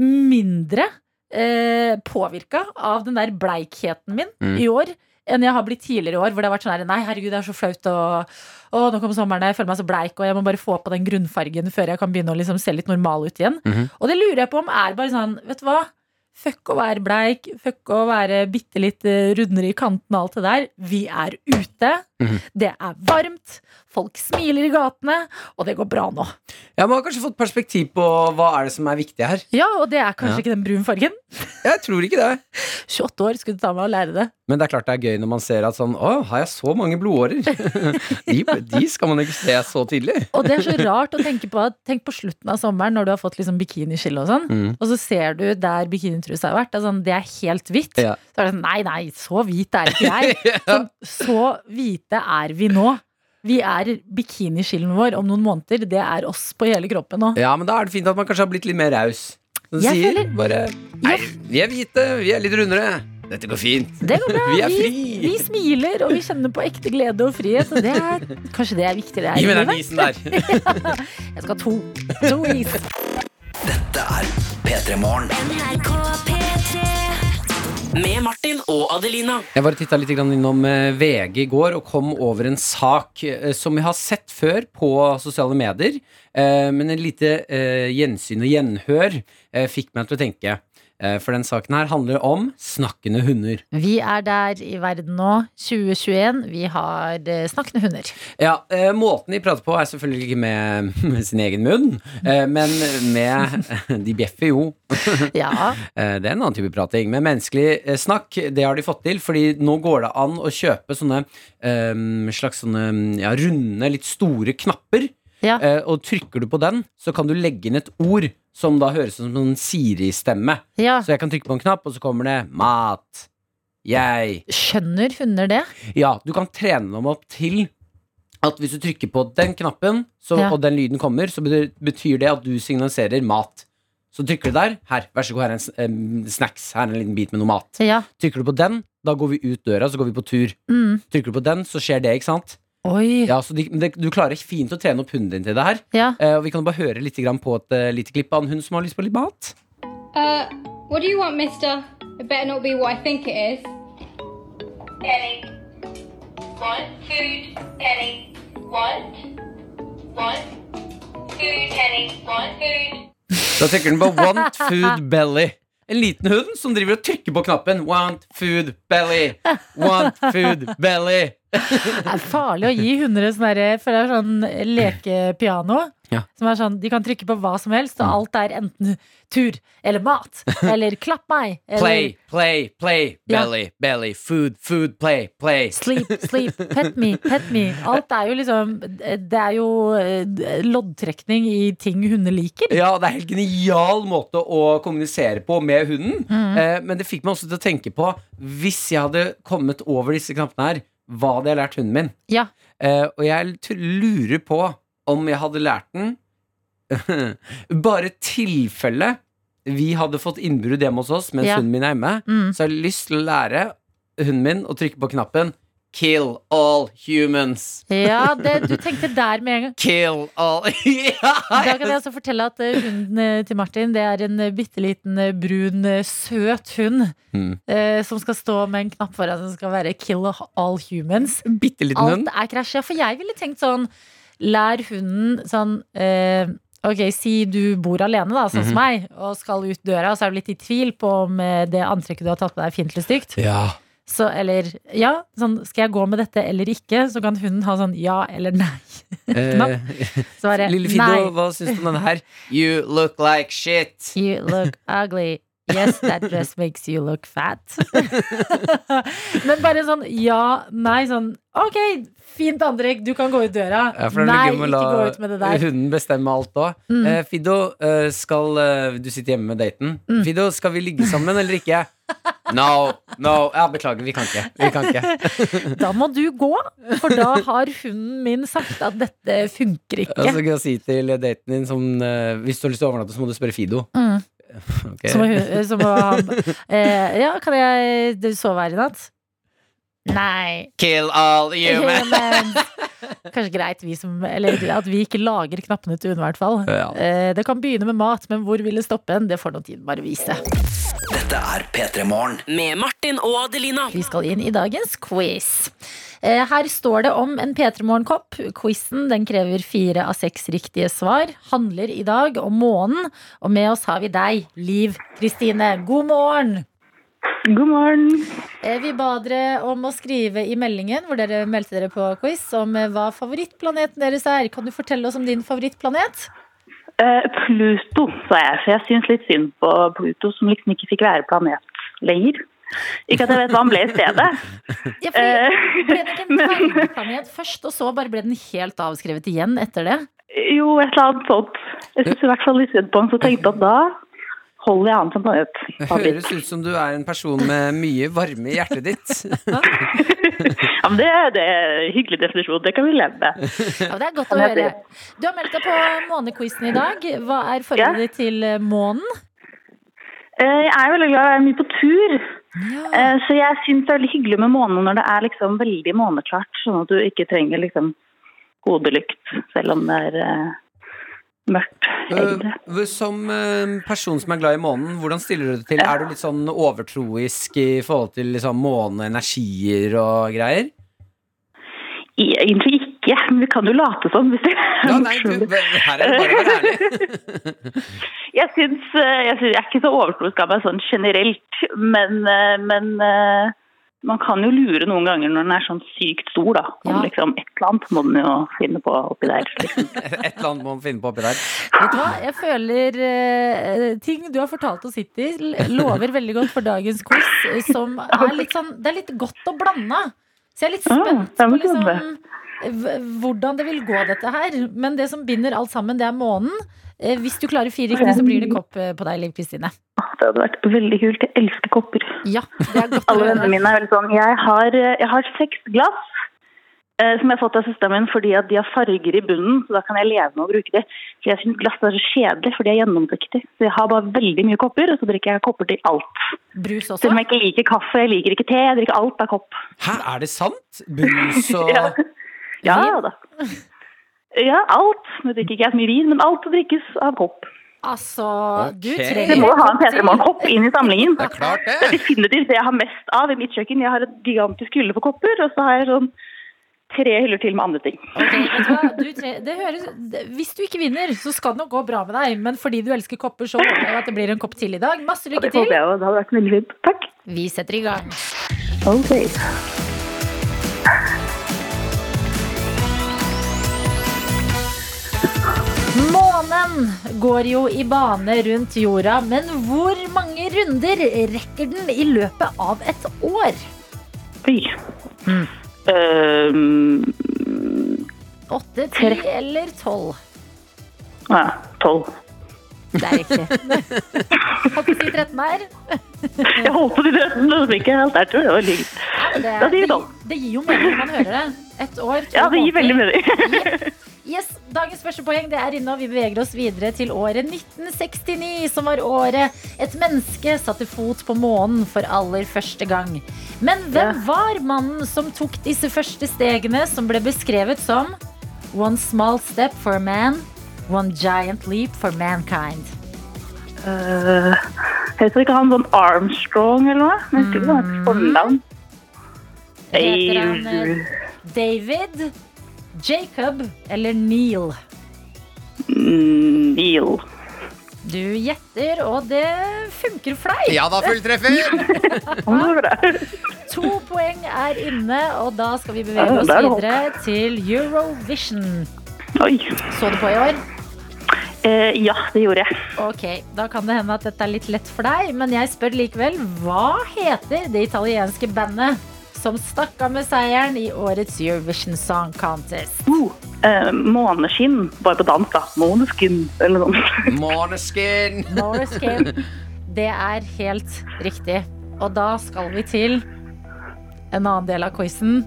[SPEAKER 2] mindre eh, påvirka av den der bleikheten min
[SPEAKER 3] Mm.
[SPEAKER 2] i år enn jeg har blitt tidligere i år, hvor det har vært sånn her Nei, herregud, det er så flaut, og, og nå kommer sommeren, jeg føler meg så bleik, og jeg må bare få på den grunnfargen før jeg kan begynne å liksom se litt normal ut igjen.
[SPEAKER 3] Mhm.
[SPEAKER 2] Og det lurer jeg på om er bare sånn, vet du hva? Fuck å være bleik, fuck å være bitte litt eh, rundere i kanten og alt det der. Vi er ute.
[SPEAKER 3] Mhm.
[SPEAKER 2] Det er varmt. Folk smiler i gatene, og det går bra nå.
[SPEAKER 3] Jeg må ha kanskje fått perspektiv på hva er det som er viktig her.
[SPEAKER 2] Ja, og det er kanskje
[SPEAKER 3] Ja.
[SPEAKER 2] ikke den brune fargen.
[SPEAKER 3] Jeg tror ikke det.
[SPEAKER 2] 28 år skulle det ta meg å lære det.
[SPEAKER 3] Men det er klart det er gøy når man ser at sånn Å, har jeg så mange blodårer? De, de skal man ikke se så tidlig.
[SPEAKER 2] Og det er så rart å tenke på at tenk på slutten av sommeren når du har fått liksom bikiniskille og sånn,
[SPEAKER 3] Mm.
[SPEAKER 2] og så ser du der bikinitrusa har vært, det er, sånn, det er helt hvitt.
[SPEAKER 3] Ja.
[SPEAKER 2] Så er det sånn nei, nei, så hvit er ikke jeg. Sånn, så hvite er vi nå. Vi er bikiniskillen vår om noen måneder. Det er oss på hele kroppen nå.
[SPEAKER 3] Ja, men da er det fint at man kanskje har blitt litt mer raus. Som du
[SPEAKER 2] Jeg
[SPEAKER 3] sier.
[SPEAKER 2] føler-
[SPEAKER 3] Bare Nei, vi er hvite, vi er litt rundere. Dette går fint.
[SPEAKER 2] Det går bra.
[SPEAKER 3] Vi er
[SPEAKER 2] Vi,
[SPEAKER 3] fri.
[SPEAKER 2] vi smiler, og vi kjenner på ekte glede og frihet. Og det er, kanskje det er viktig, det her.
[SPEAKER 3] Gi
[SPEAKER 2] i
[SPEAKER 3] meg den
[SPEAKER 2] livet.
[SPEAKER 3] isen der.
[SPEAKER 2] Jeg skal ha to. To is.
[SPEAKER 9] NRK P3
[SPEAKER 4] Med Martin og Adelina.
[SPEAKER 3] Jeg bare titta litt grann innom eh, VG i går og kom over en sak eh, som vi har sett før på sosiale medier. eh, Men en lite eh, gjensyn og gjenhør eh, fikk meg til å tenke. Eh, For den saken her handler om snakkende hunder.
[SPEAKER 2] Vi er der i verden nå, 2021. Vi har eh, snakkende hunder.
[SPEAKER 3] Ja, eh, Måten de prater på er selvfølgelig ikke med, med sin egen munn, eh, men med De bjeffer jo.
[SPEAKER 2] Ja.
[SPEAKER 3] Eh, det er en annen type prating. Men menneskelig eh, snakk, det har de fått til. Fordi nå går det an å kjøpe sånne eh, slags sånne ja, runde, litt store knapper.
[SPEAKER 2] Ja.
[SPEAKER 3] Eh, og trykker du på den, så kan du legge inn et ord som da høres ut som en Siri-stemme.
[SPEAKER 2] ja.
[SPEAKER 3] Så jeg kan trykke på en knapp, og så kommer det mat. Jeg.
[SPEAKER 2] Skjønner hunder det?
[SPEAKER 3] Ja, du kan trene dem opp til at hvis du trykker på den knappen, så,
[SPEAKER 2] Ja.
[SPEAKER 3] og den lyden kommer, så betyr, betyr det at du signaliserer mat. Så trykker du der. Her, vær så god, her er en s- em, snacks. Her er en liten bit med noe mat.
[SPEAKER 2] Ja.
[SPEAKER 3] Trykker du på den, da går vi ut døra, så går vi på tur.
[SPEAKER 2] Mm.
[SPEAKER 3] Trykker du på den, så skjer det, ikke sant?
[SPEAKER 2] Oi.
[SPEAKER 3] Ja, så de, det- Du klarer fint å trene opp hunden din til det her.
[SPEAKER 2] Ja.
[SPEAKER 3] Eh, og Vi kan jo bare høre litt grann på et eh, lite klipp av en hund som har lyst på litt mat.
[SPEAKER 10] Uh, what do you want, mister? It better not be what I think it is. Ellie. Want food, Ellie. Want. Want food, Ellie. Want food.
[SPEAKER 3] Da trykker den på Want Food Belly. En liten hund som driver og trykker på knappen. Want Food Belly. Want Food Belly.
[SPEAKER 2] Det er farlig å gi hundre sånne der, For det er sånn lekepiano
[SPEAKER 3] Ja. Mm.
[SPEAKER 2] Som er sånn, de kan trykke på hva som helst Og alt er enten tur, eller mat Eller klapp meg eller
[SPEAKER 3] Play, play, play.
[SPEAKER 2] Ja.
[SPEAKER 3] Belly, belly. Food, food, play, play.
[SPEAKER 2] Sleep, sleep, pet me, pet me Alt er jo liksom Det er jo eh, loddtrekning i ting hunder liker
[SPEAKER 3] Ja, det er helt genial måte å kommunisere på med hunden.
[SPEAKER 2] Mm.
[SPEAKER 3] Eh, men det fikk meg også til å tenke på Hvis jeg hadde kommet over disse knappene her, hva hadde jeg lært hunden min?
[SPEAKER 2] Ja.
[SPEAKER 3] Eh, og jeg t- lurer på om jeg hadde lært den Bare tilfelle vi hadde fått innbrudd hjemme hos oss mens
[SPEAKER 2] Ja.
[SPEAKER 3] hunden min er hjemme,
[SPEAKER 2] Mm.
[SPEAKER 3] så jeg har lyst til å lære hunden min å trykke på knappen Kill all humans.
[SPEAKER 2] Ja, det, du tenkte der med en gang
[SPEAKER 3] Kill all ja,
[SPEAKER 2] Da kan jeg også fortelle at eh, hunden eh, til Martin Det er en eh, bitteliten eh, brun eh, Søt hund
[SPEAKER 3] Mm.
[SPEAKER 2] eh, Som skal stå med en knapp foran Som skal være kill all humans
[SPEAKER 3] Bitte liten hund.
[SPEAKER 2] Alt er krasj. Ja, for jeg ville tenkt sånn Lær hunden sånn eh, Ok, si du bor alene, da,
[SPEAKER 3] Mhm.
[SPEAKER 2] sånn som meg, og skal ut døra, og så er du litt i tvil på om eh, det antrekket du har tatt på deg, er fint eller stygt.
[SPEAKER 3] Ja.
[SPEAKER 2] Så, eller ja, sånn Skal jeg gå med dette eller ikke? Så kan hunden ha sånn ja eller nei. Knapp.
[SPEAKER 3] Eh,
[SPEAKER 2] Så bare
[SPEAKER 3] Lille
[SPEAKER 2] nei.
[SPEAKER 3] Fido, hva syns du om denne her? You look like shit.
[SPEAKER 2] You look ugly. Yes, that dress makes you look fat. Men bare sånn ja, nei, sånn ok, fint antrekk, du kan gå ut døra.
[SPEAKER 3] Ja, for det er
[SPEAKER 2] nei,
[SPEAKER 3] litt gøy
[SPEAKER 2] ikke
[SPEAKER 3] med å
[SPEAKER 2] gå
[SPEAKER 3] la
[SPEAKER 2] ut med det der.
[SPEAKER 3] Hunden bestemme alt òg.
[SPEAKER 2] Mm.
[SPEAKER 3] Fido, eh, skal eh, Du sitter hjemme med daten.
[SPEAKER 2] Mm.
[SPEAKER 3] Fido, skal vi ligge sammen eller ikke? No. no Ja, beklager, vi kan ikke. Vi kan ikke.
[SPEAKER 2] Da må du gå, for da har hunden min sagt at dette funker
[SPEAKER 3] Og så
[SPEAKER 2] ikke.
[SPEAKER 3] kan jeg si til daten din sånn eh, Hvis du har lyst til å overnatte, så må du spørre Fido.
[SPEAKER 2] Mm.
[SPEAKER 3] Ok.
[SPEAKER 2] Så må, hun- så må han eh, Ja, kan jeg du sove her i natt? Nei.
[SPEAKER 3] Kill all human.
[SPEAKER 2] Men, kanskje greit vi som, eller, at vi ikke lager knappene til hunden, i hvert fall.
[SPEAKER 3] Ja.
[SPEAKER 2] Eh, Det kan begynne med mat, men hvor vil det stoppe hen? Det får nå tiden bare vise.
[SPEAKER 4] Med Martin og Adelina.
[SPEAKER 2] Vi skal inn i dagens quiz. Eh, Her står det om en P3 Morgenkopp. Quizen den krever fire av seks riktige svar. Handler i dag om månen, og med oss har vi deg, Liv Kristine. God morgen!
[SPEAKER 11] God morgen.
[SPEAKER 2] Eh, Vi ba dere om å skrive i meldingen hvor dere meldte dere på quiz, om eh, hva favorittplaneten deres er. Kan du fortelle oss om din favorittplanet?
[SPEAKER 11] Eh, Pluto, sa jeg, for jeg syns litt synd på Pluto, som liksom ikke fikk være planet lenger. Ikke at jeg vet hva han ble i stedet.
[SPEAKER 2] Ja, fordi
[SPEAKER 11] Eh,
[SPEAKER 2] ble det ikke en
[SPEAKER 11] men
[SPEAKER 2] dvergplanet først, og så bare ble den helt avskrevet igjen etter det?
[SPEAKER 11] jo, et eller annet sånt. Jeg syns i hvert fall litt synd på han, så tenkte jeg at da holder jeg han som planet.
[SPEAKER 3] Høres ut som du er en person med mye varme i hjertet ditt.
[SPEAKER 11] Ja, men det, det er en hyggelig definisjon, det kan vi leve med.
[SPEAKER 2] Ja, det er godt å
[SPEAKER 11] Han heter-
[SPEAKER 2] høre. Du har meldt deg på månequizen i dag. Hva er forholdet ditt til eh, månen?
[SPEAKER 11] Eh, Jeg er veldig glad i å være mye på tur, eh, så jeg syns det er veldig hyggelig med månen når det er liksom veldig måneklart, sånn at du ikke trenger liksom hodelykt selv om det er eh, mørkt, egentlig.
[SPEAKER 3] Eh, Som eh, person som er glad i månen, hvordan stiller du deg til? Er du litt sånn overtroisk i forhold til liksom, måneenergier og greier?
[SPEAKER 11] I- Egentlig ikke, men vi kan jo late som. Hvis det er
[SPEAKER 3] Ja, nei, du,
[SPEAKER 11] morsomt.
[SPEAKER 3] her er det bare å være ærlig.
[SPEAKER 11] jeg, syns, eh, jeg, syns, jeg er ikke så overtroisk av meg sånn generelt, men, eh, men eh, man kan jo lure noen ganger når den er sånn sykt stor, da. Om
[SPEAKER 2] Ja.
[SPEAKER 11] liksom et eller annet må den jo finne på oppi der. Liksom.
[SPEAKER 3] Et eller annet må man finne på oppi der.
[SPEAKER 2] Vet du hva, jeg føler eh, ting du har fortalt oss hittil, lover veldig godt for dagens quiz, eh, som er litt sånn Det er litt godt og blanda. Så jeg er litt
[SPEAKER 11] Ah,
[SPEAKER 2] spent
[SPEAKER 11] det er
[SPEAKER 2] på
[SPEAKER 11] vel
[SPEAKER 2] liksom
[SPEAKER 11] kjempe.
[SPEAKER 2] v- hvordan det vil gå, dette her. Men det som binder alt sammen, det er månen. Eh, Hvis du klarer fire riktig, så blir det kopp eh, på deg, Liv Kristine.
[SPEAKER 11] Det hadde vært veldig kult. Jeg elsker kopper.
[SPEAKER 2] Ja, det er godt å
[SPEAKER 11] Alle
[SPEAKER 2] høre.
[SPEAKER 11] vennene mine er veldig sånn Jeg har, eh, jeg har seks glass eh, som jeg har fått av søsteren min fordi at de har farger i bunnen, så da kan jeg leve med å bruke de. For jeg syns glass er så kjedelig, for de er gjennomdektige. Så jeg har bare veldig mye kopper, og så drikker jeg kopper til alt.
[SPEAKER 2] Brus også.
[SPEAKER 11] Selv om jeg ikke liker kaffe, jeg liker ikke te, jeg drikker alt av kopp.
[SPEAKER 3] Hæ, er det sant? Brus og
[SPEAKER 11] Ja. Ja da. Ja, alt. Nå drikker ikke jeg så mye vin, men alt drikkes av kopp.
[SPEAKER 2] Altså, du
[SPEAKER 3] Ok.
[SPEAKER 11] Vi
[SPEAKER 2] trenger
[SPEAKER 11] må jo ha en
[SPEAKER 2] kopp
[SPEAKER 11] P3
[SPEAKER 2] til.
[SPEAKER 11] Morgen-kopp inn i samlingen.
[SPEAKER 3] Det er klart,
[SPEAKER 11] Det er
[SPEAKER 3] det.
[SPEAKER 11] definitivt det jeg har mest av i mitt kjøkken. Jeg har et gigantisk hylle for kopper, og så har jeg sånn tre hyller til med andre ting.
[SPEAKER 2] Ok, vet du hva? Du tre, det høres, det- hvis du ikke vinner, så skal det nok gå bra med deg. Men fordi du elsker kopper, så håper jeg at det blir en kopp til i dag. Masse
[SPEAKER 11] Og
[SPEAKER 2] lykke
[SPEAKER 11] det håper
[SPEAKER 2] til.
[SPEAKER 11] jeg jo. Det hadde vært veldig fint. Takk.
[SPEAKER 2] Vi setter i gang.
[SPEAKER 11] Ok.
[SPEAKER 2] Månen går jo i bane rundt jorda, men hvor mange runder rekker den i løpet av et år?
[SPEAKER 11] Oi.
[SPEAKER 2] Mm.
[SPEAKER 11] Ehm,
[SPEAKER 2] Åtte, ti eller tolv?
[SPEAKER 11] ja, tolv.
[SPEAKER 2] Det er riktig. Kan ikke si 13 her.
[SPEAKER 11] Jeg holdt på de rettene, men ikke helt der, tror jeg. Det var litt-
[SPEAKER 2] Det,
[SPEAKER 11] Ja, det gir tolv.
[SPEAKER 2] det gir jo mening når man hører det. Et år, to
[SPEAKER 11] Ja, det gir
[SPEAKER 2] måneder.
[SPEAKER 11] veldig mening.
[SPEAKER 2] Yes, Dagens første poeng det er inne, og vi beveger oss videre til året 1969, som var året et menneske satte fot på månen for aller første gang. Men hvem var mannen som tok disse første stegene, som ble beskrevet som One small step for man, one giant leap for mankind?
[SPEAKER 11] Eh, heter ikke han sånn Armstrong eller noe? Jeg husker ikke hva hans fornavn.
[SPEAKER 2] Mm. Heter han eh, David, Jacob eller Neil? eh?
[SPEAKER 11] Mm, Neil.
[SPEAKER 2] Du gjetter, og det funker for deg.
[SPEAKER 3] Ja da, fulltreffer!
[SPEAKER 11] Han var bra.
[SPEAKER 2] To poeng er inne, og da skal vi bevege
[SPEAKER 11] Ja,
[SPEAKER 2] oss
[SPEAKER 11] det er det
[SPEAKER 2] videre til Eurovision.
[SPEAKER 11] Oi.
[SPEAKER 2] Så du på i år?
[SPEAKER 11] Eh, ja, det gjorde jeg.
[SPEAKER 2] Ok, da kan det hende at dette er litt lett for deg, men jeg spør likevel. Hva heter det italienske bandet som stakk av med seieren i årets Eurovision Song Contest?
[SPEAKER 11] Eh, måneskinn. Bare på dansk, da. Måneskin eller noe sånt.
[SPEAKER 3] Måneskin!
[SPEAKER 2] Moreskin. Det er helt riktig. Og da skal vi til en annen del av quizen.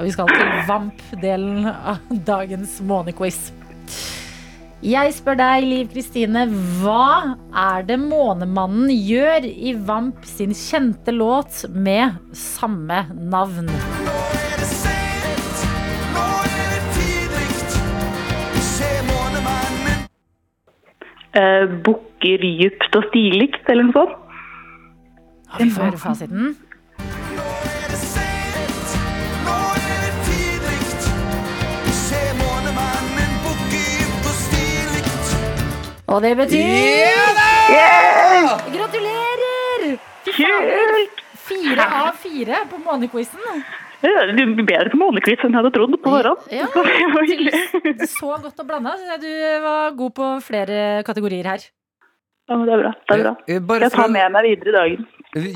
[SPEAKER 2] Og vi skal til Vamp-delen av dagens månequiz. Jeg spør deg, Liv Kristine, hva er det Månemannen gjør i Vamp sin kjente låt med samme navn?
[SPEAKER 11] Eh, Bukker djupt og stilikt eller noe sånt.
[SPEAKER 2] Har vi før fasiten? Og det betyr Gratulerer!
[SPEAKER 11] Kult!
[SPEAKER 2] Fire av fire på månequizen.
[SPEAKER 11] Eh, Du blir bedre på månekvitt enn jeg hadde trodd på forhånd.
[SPEAKER 2] Ja,
[SPEAKER 11] Så det var hyggelig.
[SPEAKER 2] til- så godt og blanda. synes jeg Du var god på flere kategorier her.
[SPEAKER 11] Ja, men det er bra. Det er bra.
[SPEAKER 3] Eh, Bare
[SPEAKER 11] Jeg
[SPEAKER 3] for,
[SPEAKER 11] tar
[SPEAKER 3] å-
[SPEAKER 11] med meg videre i dagen.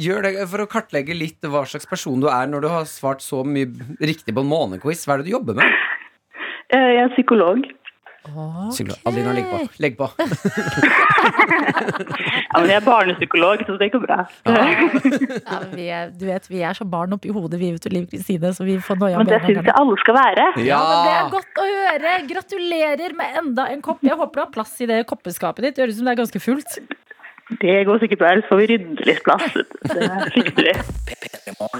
[SPEAKER 3] gjør det, for å kartlegge litt hva slags person du er når du har svart så mye riktig på en månequiz, hva er det du jobber med?
[SPEAKER 11] Eh, Jeg er psykolog.
[SPEAKER 3] Psykolog. Adelina, legg på. Legg på.
[SPEAKER 11] Ja, men jeg er barnepsykolog, så det går bra.
[SPEAKER 2] Ja, men vi er, du vet, vi er som barn oppi hodet, vi, vet du, Liv Kristine, så vi får noia
[SPEAKER 11] Men det syns jeg alle skal være.
[SPEAKER 2] Ja, men det er godt å høre. Gratulerer med enda en kopp. Jeg håper du har plass i det koppeskapet ditt. Det høres ut som det er ganske fullt.
[SPEAKER 11] Det går sikkert bra, ellers får vi rydde litt plass. Det frykter vi.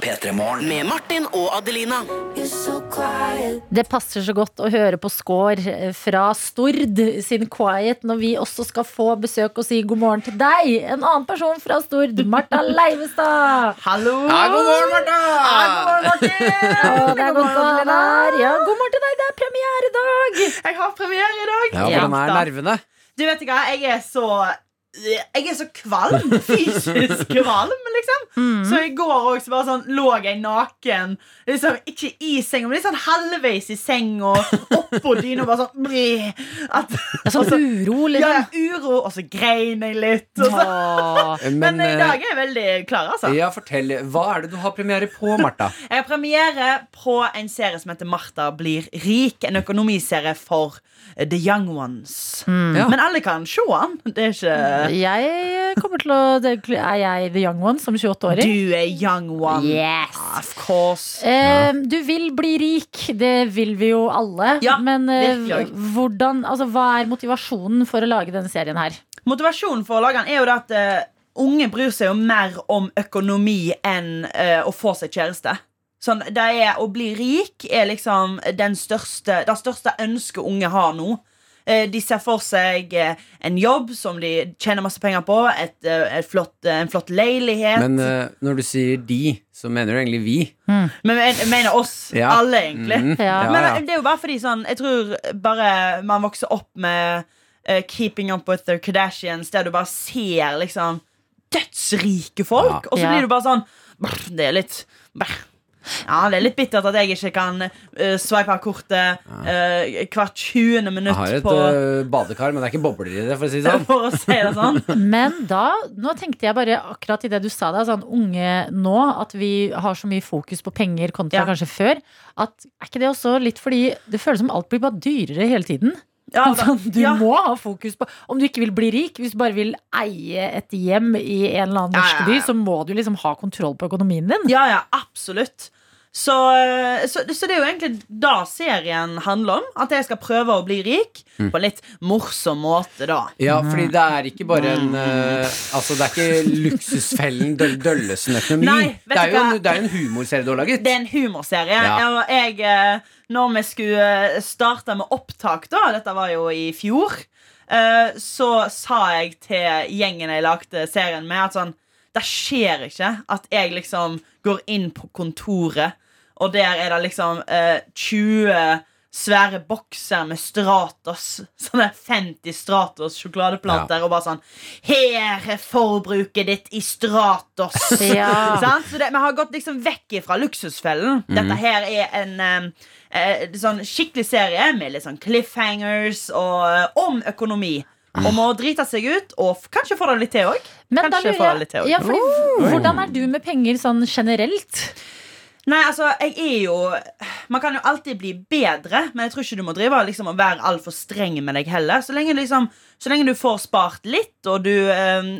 [SPEAKER 4] Med Martin og Adelina.
[SPEAKER 2] Det passer så godt å høre på Skår eh, fra Stord sin Quiet når vi også skal få besøk og si god morgen til deg. En annen person fra Stord, Marta Leivestad.
[SPEAKER 8] Hallo!
[SPEAKER 3] Ja, god morgen, Martha!
[SPEAKER 2] Å, det er godt å ha deg her. Ja, god morgen til deg. Det er premiere i dag.
[SPEAKER 8] Jeg har premiere i dag.
[SPEAKER 3] Ja, hvordan er nervene?
[SPEAKER 8] Du vet ikke hva, jeg er så jeg er så kvalm. Fysisk kvalm, liksom.
[SPEAKER 3] Mm.
[SPEAKER 8] Så i går også bare sånn, lå jeg naken. Liksom, ikke i senga, men litt sånn halvveis i senga. Oppå dyna og bare sånn bleh, at,
[SPEAKER 2] Det er sånn uro,
[SPEAKER 8] Ja,
[SPEAKER 2] liksom.
[SPEAKER 8] ja, uro, og så grein jeg litt. Og så. Men, eh,
[SPEAKER 3] Men
[SPEAKER 8] i dag er jeg veldig klar, altså.
[SPEAKER 3] eh, ja, fortell. Hva er det du har premiere på, Martha?
[SPEAKER 8] Jeg har premiere på en serie som heter Martha blir rik. En økonomiserie for eh, The Young Ones.
[SPEAKER 3] Ja.
[SPEAKER 8] Men alle kan se den. Det er ikke
[SPEAKER 2] Jeg kommer til å det, Er jeg the young one som 28-åring?
[SPEAKER 8] Du er young one.
[SPEAKER 2] Yes.
[SPEAKER 8] Of course.
[SPEAKER 2] Eh, du vil bli rik, det vil vi jo alle.
[SPEAKER 8] Ja,
[SPEAKER 2] Men eh,
[SPEAKER 8] virkelig.
[SPEAKER 2] hvordan, altså, hva er motivasjonen for å lage denne serien her?
[SPEAKER 8] Motivasjonen for å lage den er jo det at eh, unge bryr seg jo mer om økonomi enn eh, å få seg kjæreste. Sånn, det er Å bli rik er liksom den største, det største ønsket unge har nå. Eh, De ser for seg eh, en jobb som de tjener masse penger på, et, eh, et flott, eh, en flott leilighet.
[SPEAKER 3] Men eh, når du sier de, så mener du egentlig vi.
[SPEAKER 8] Men jeg mener oss
[SPEAKER 3] Ja.
[SPEAKER 8] alle, egentlig.
[SPEAKER 3] Mhm.
[SPEAKER 2] Ja.
[SPEAKER 8] Men
[SPEAKER 3] Ja, ja.
[SPEAKER 8] det er jo bare fordi sånn Jeg tror bare man vokser opp med eh, Keeping up with the Kardashians, der du bare ser liksom dødsrike folk, og så
[SPEAKER 2] Ja.
[SPEAKER 8] blir du bare sånn brr, Det er litt brr. Ja, Det er litt bittert at jeg ikke kan eh, swipe av kortet eh, hvert 20.
[SPEAKER 3] Jeg har
[SPEAKER 8] minutt
[SPEAKER 3] et
[SPEAKER 8] på
[SPEAKER 3] øh, badekar, men det er ikke bobler i det, for å si det sånn.
[SPEAKER 8] For å si det sånn.
[SPEAKER 2] Men da, nå tenkte jeg bare akkurat i det du sa da, sånn unge nå, at vi har så mye fokus på penger kontra
[SPEAKER 8] Ja.
[SPEAKER 2] kanskje før, at er ikke det også litt fordi det føles som alt blir bare dyrere hele tiden?
[SPEAKER 8] Ja, da-
[SPEAKER 2] sånn, du
[SPEAKER 8] ja.
[SPEAKER 2] må ha fokus på Om du ikke vil bli rik, hvis du bare vil eie et hjem i en eller annen
[SPEAKER 8] Ja,
[SPEAKER 2] norsk
[SPEAKER 8] ja,
[SPEAKER 2] by,
[SPEAKER 8] ja.
[SPEAKER 2] så må du liksom ha kontroll på økonomien din.
[SPEAKER 8] Ja, ja, absolutt. Så, eh, så, så det er jo egentlig da serien handler om. At jeg skal prøve å bli rik på en litt morsom måte, da.
[SPEAKER 3] Ja, fordi det er ikke bare en øh, Altså, det er ikke luksusfellen Døll-
[SPEAKER 8] Nei,
[SPEAKER 3] Døllesen-økonomi.
[SPEAKER 8] vet
[SPEAKER 3] Det er
[SPEAKER 8] du
[SPEAKER 3] jo en,
[SPEAKER 8] hva?
[SPEAKER 3] det er jo en humorserie du har laget.
[SPEAKER 8] Det er en humorserie.
[SPEAKER 3] Ja.
[SPEAKER 8] Og jeg, eh, når vi skulle eh, starte med opptak, da dette var jo i fjor, eh, så sa jeg til gjengen jeg lagde serien med, at sånn Det skjer ikke at jeg liksom går inn på kontoret, og der er det liksom eh, 20 Svære bokser med Stratos. Sånne 50 Stratos sjokoladeplater. Og bare sånn Her er forbruket ditt i Stratos!
[SPEAKER 2] Ja.
[SPEAKER 8] Sant? Sant? Så det, vi har gått liksom vekk fra luksusfellen. Dette her er en eh, eh, sånn skikkelig serie med litt sånn cliffhangers og eh, om økonomi. Om å drite seg ut, og f kanskje få det litt til òg.
[SPEAKER 2] Men da
[SPEAKER 8] Kanskje
[SPEAKER 2] lurer
[SPEAKER 8] få
[SPEAKER 2] jeg-
[SPEAKER 8] det litt til
[SPEAKER 2] ja,
[SPEAKER 8] også.
[SPEAKER 2] fordi, Hvordan er du med penger sånn generelt?
[SPEAKER 8] Nei, altså, jeg er jo Man kan jo alltid bli bedre, men jeg tror ikke du må drive og liksom, å være altfor streng med deg heller. Så lenge, liksom, så lenge du får spart litt, og du, eh,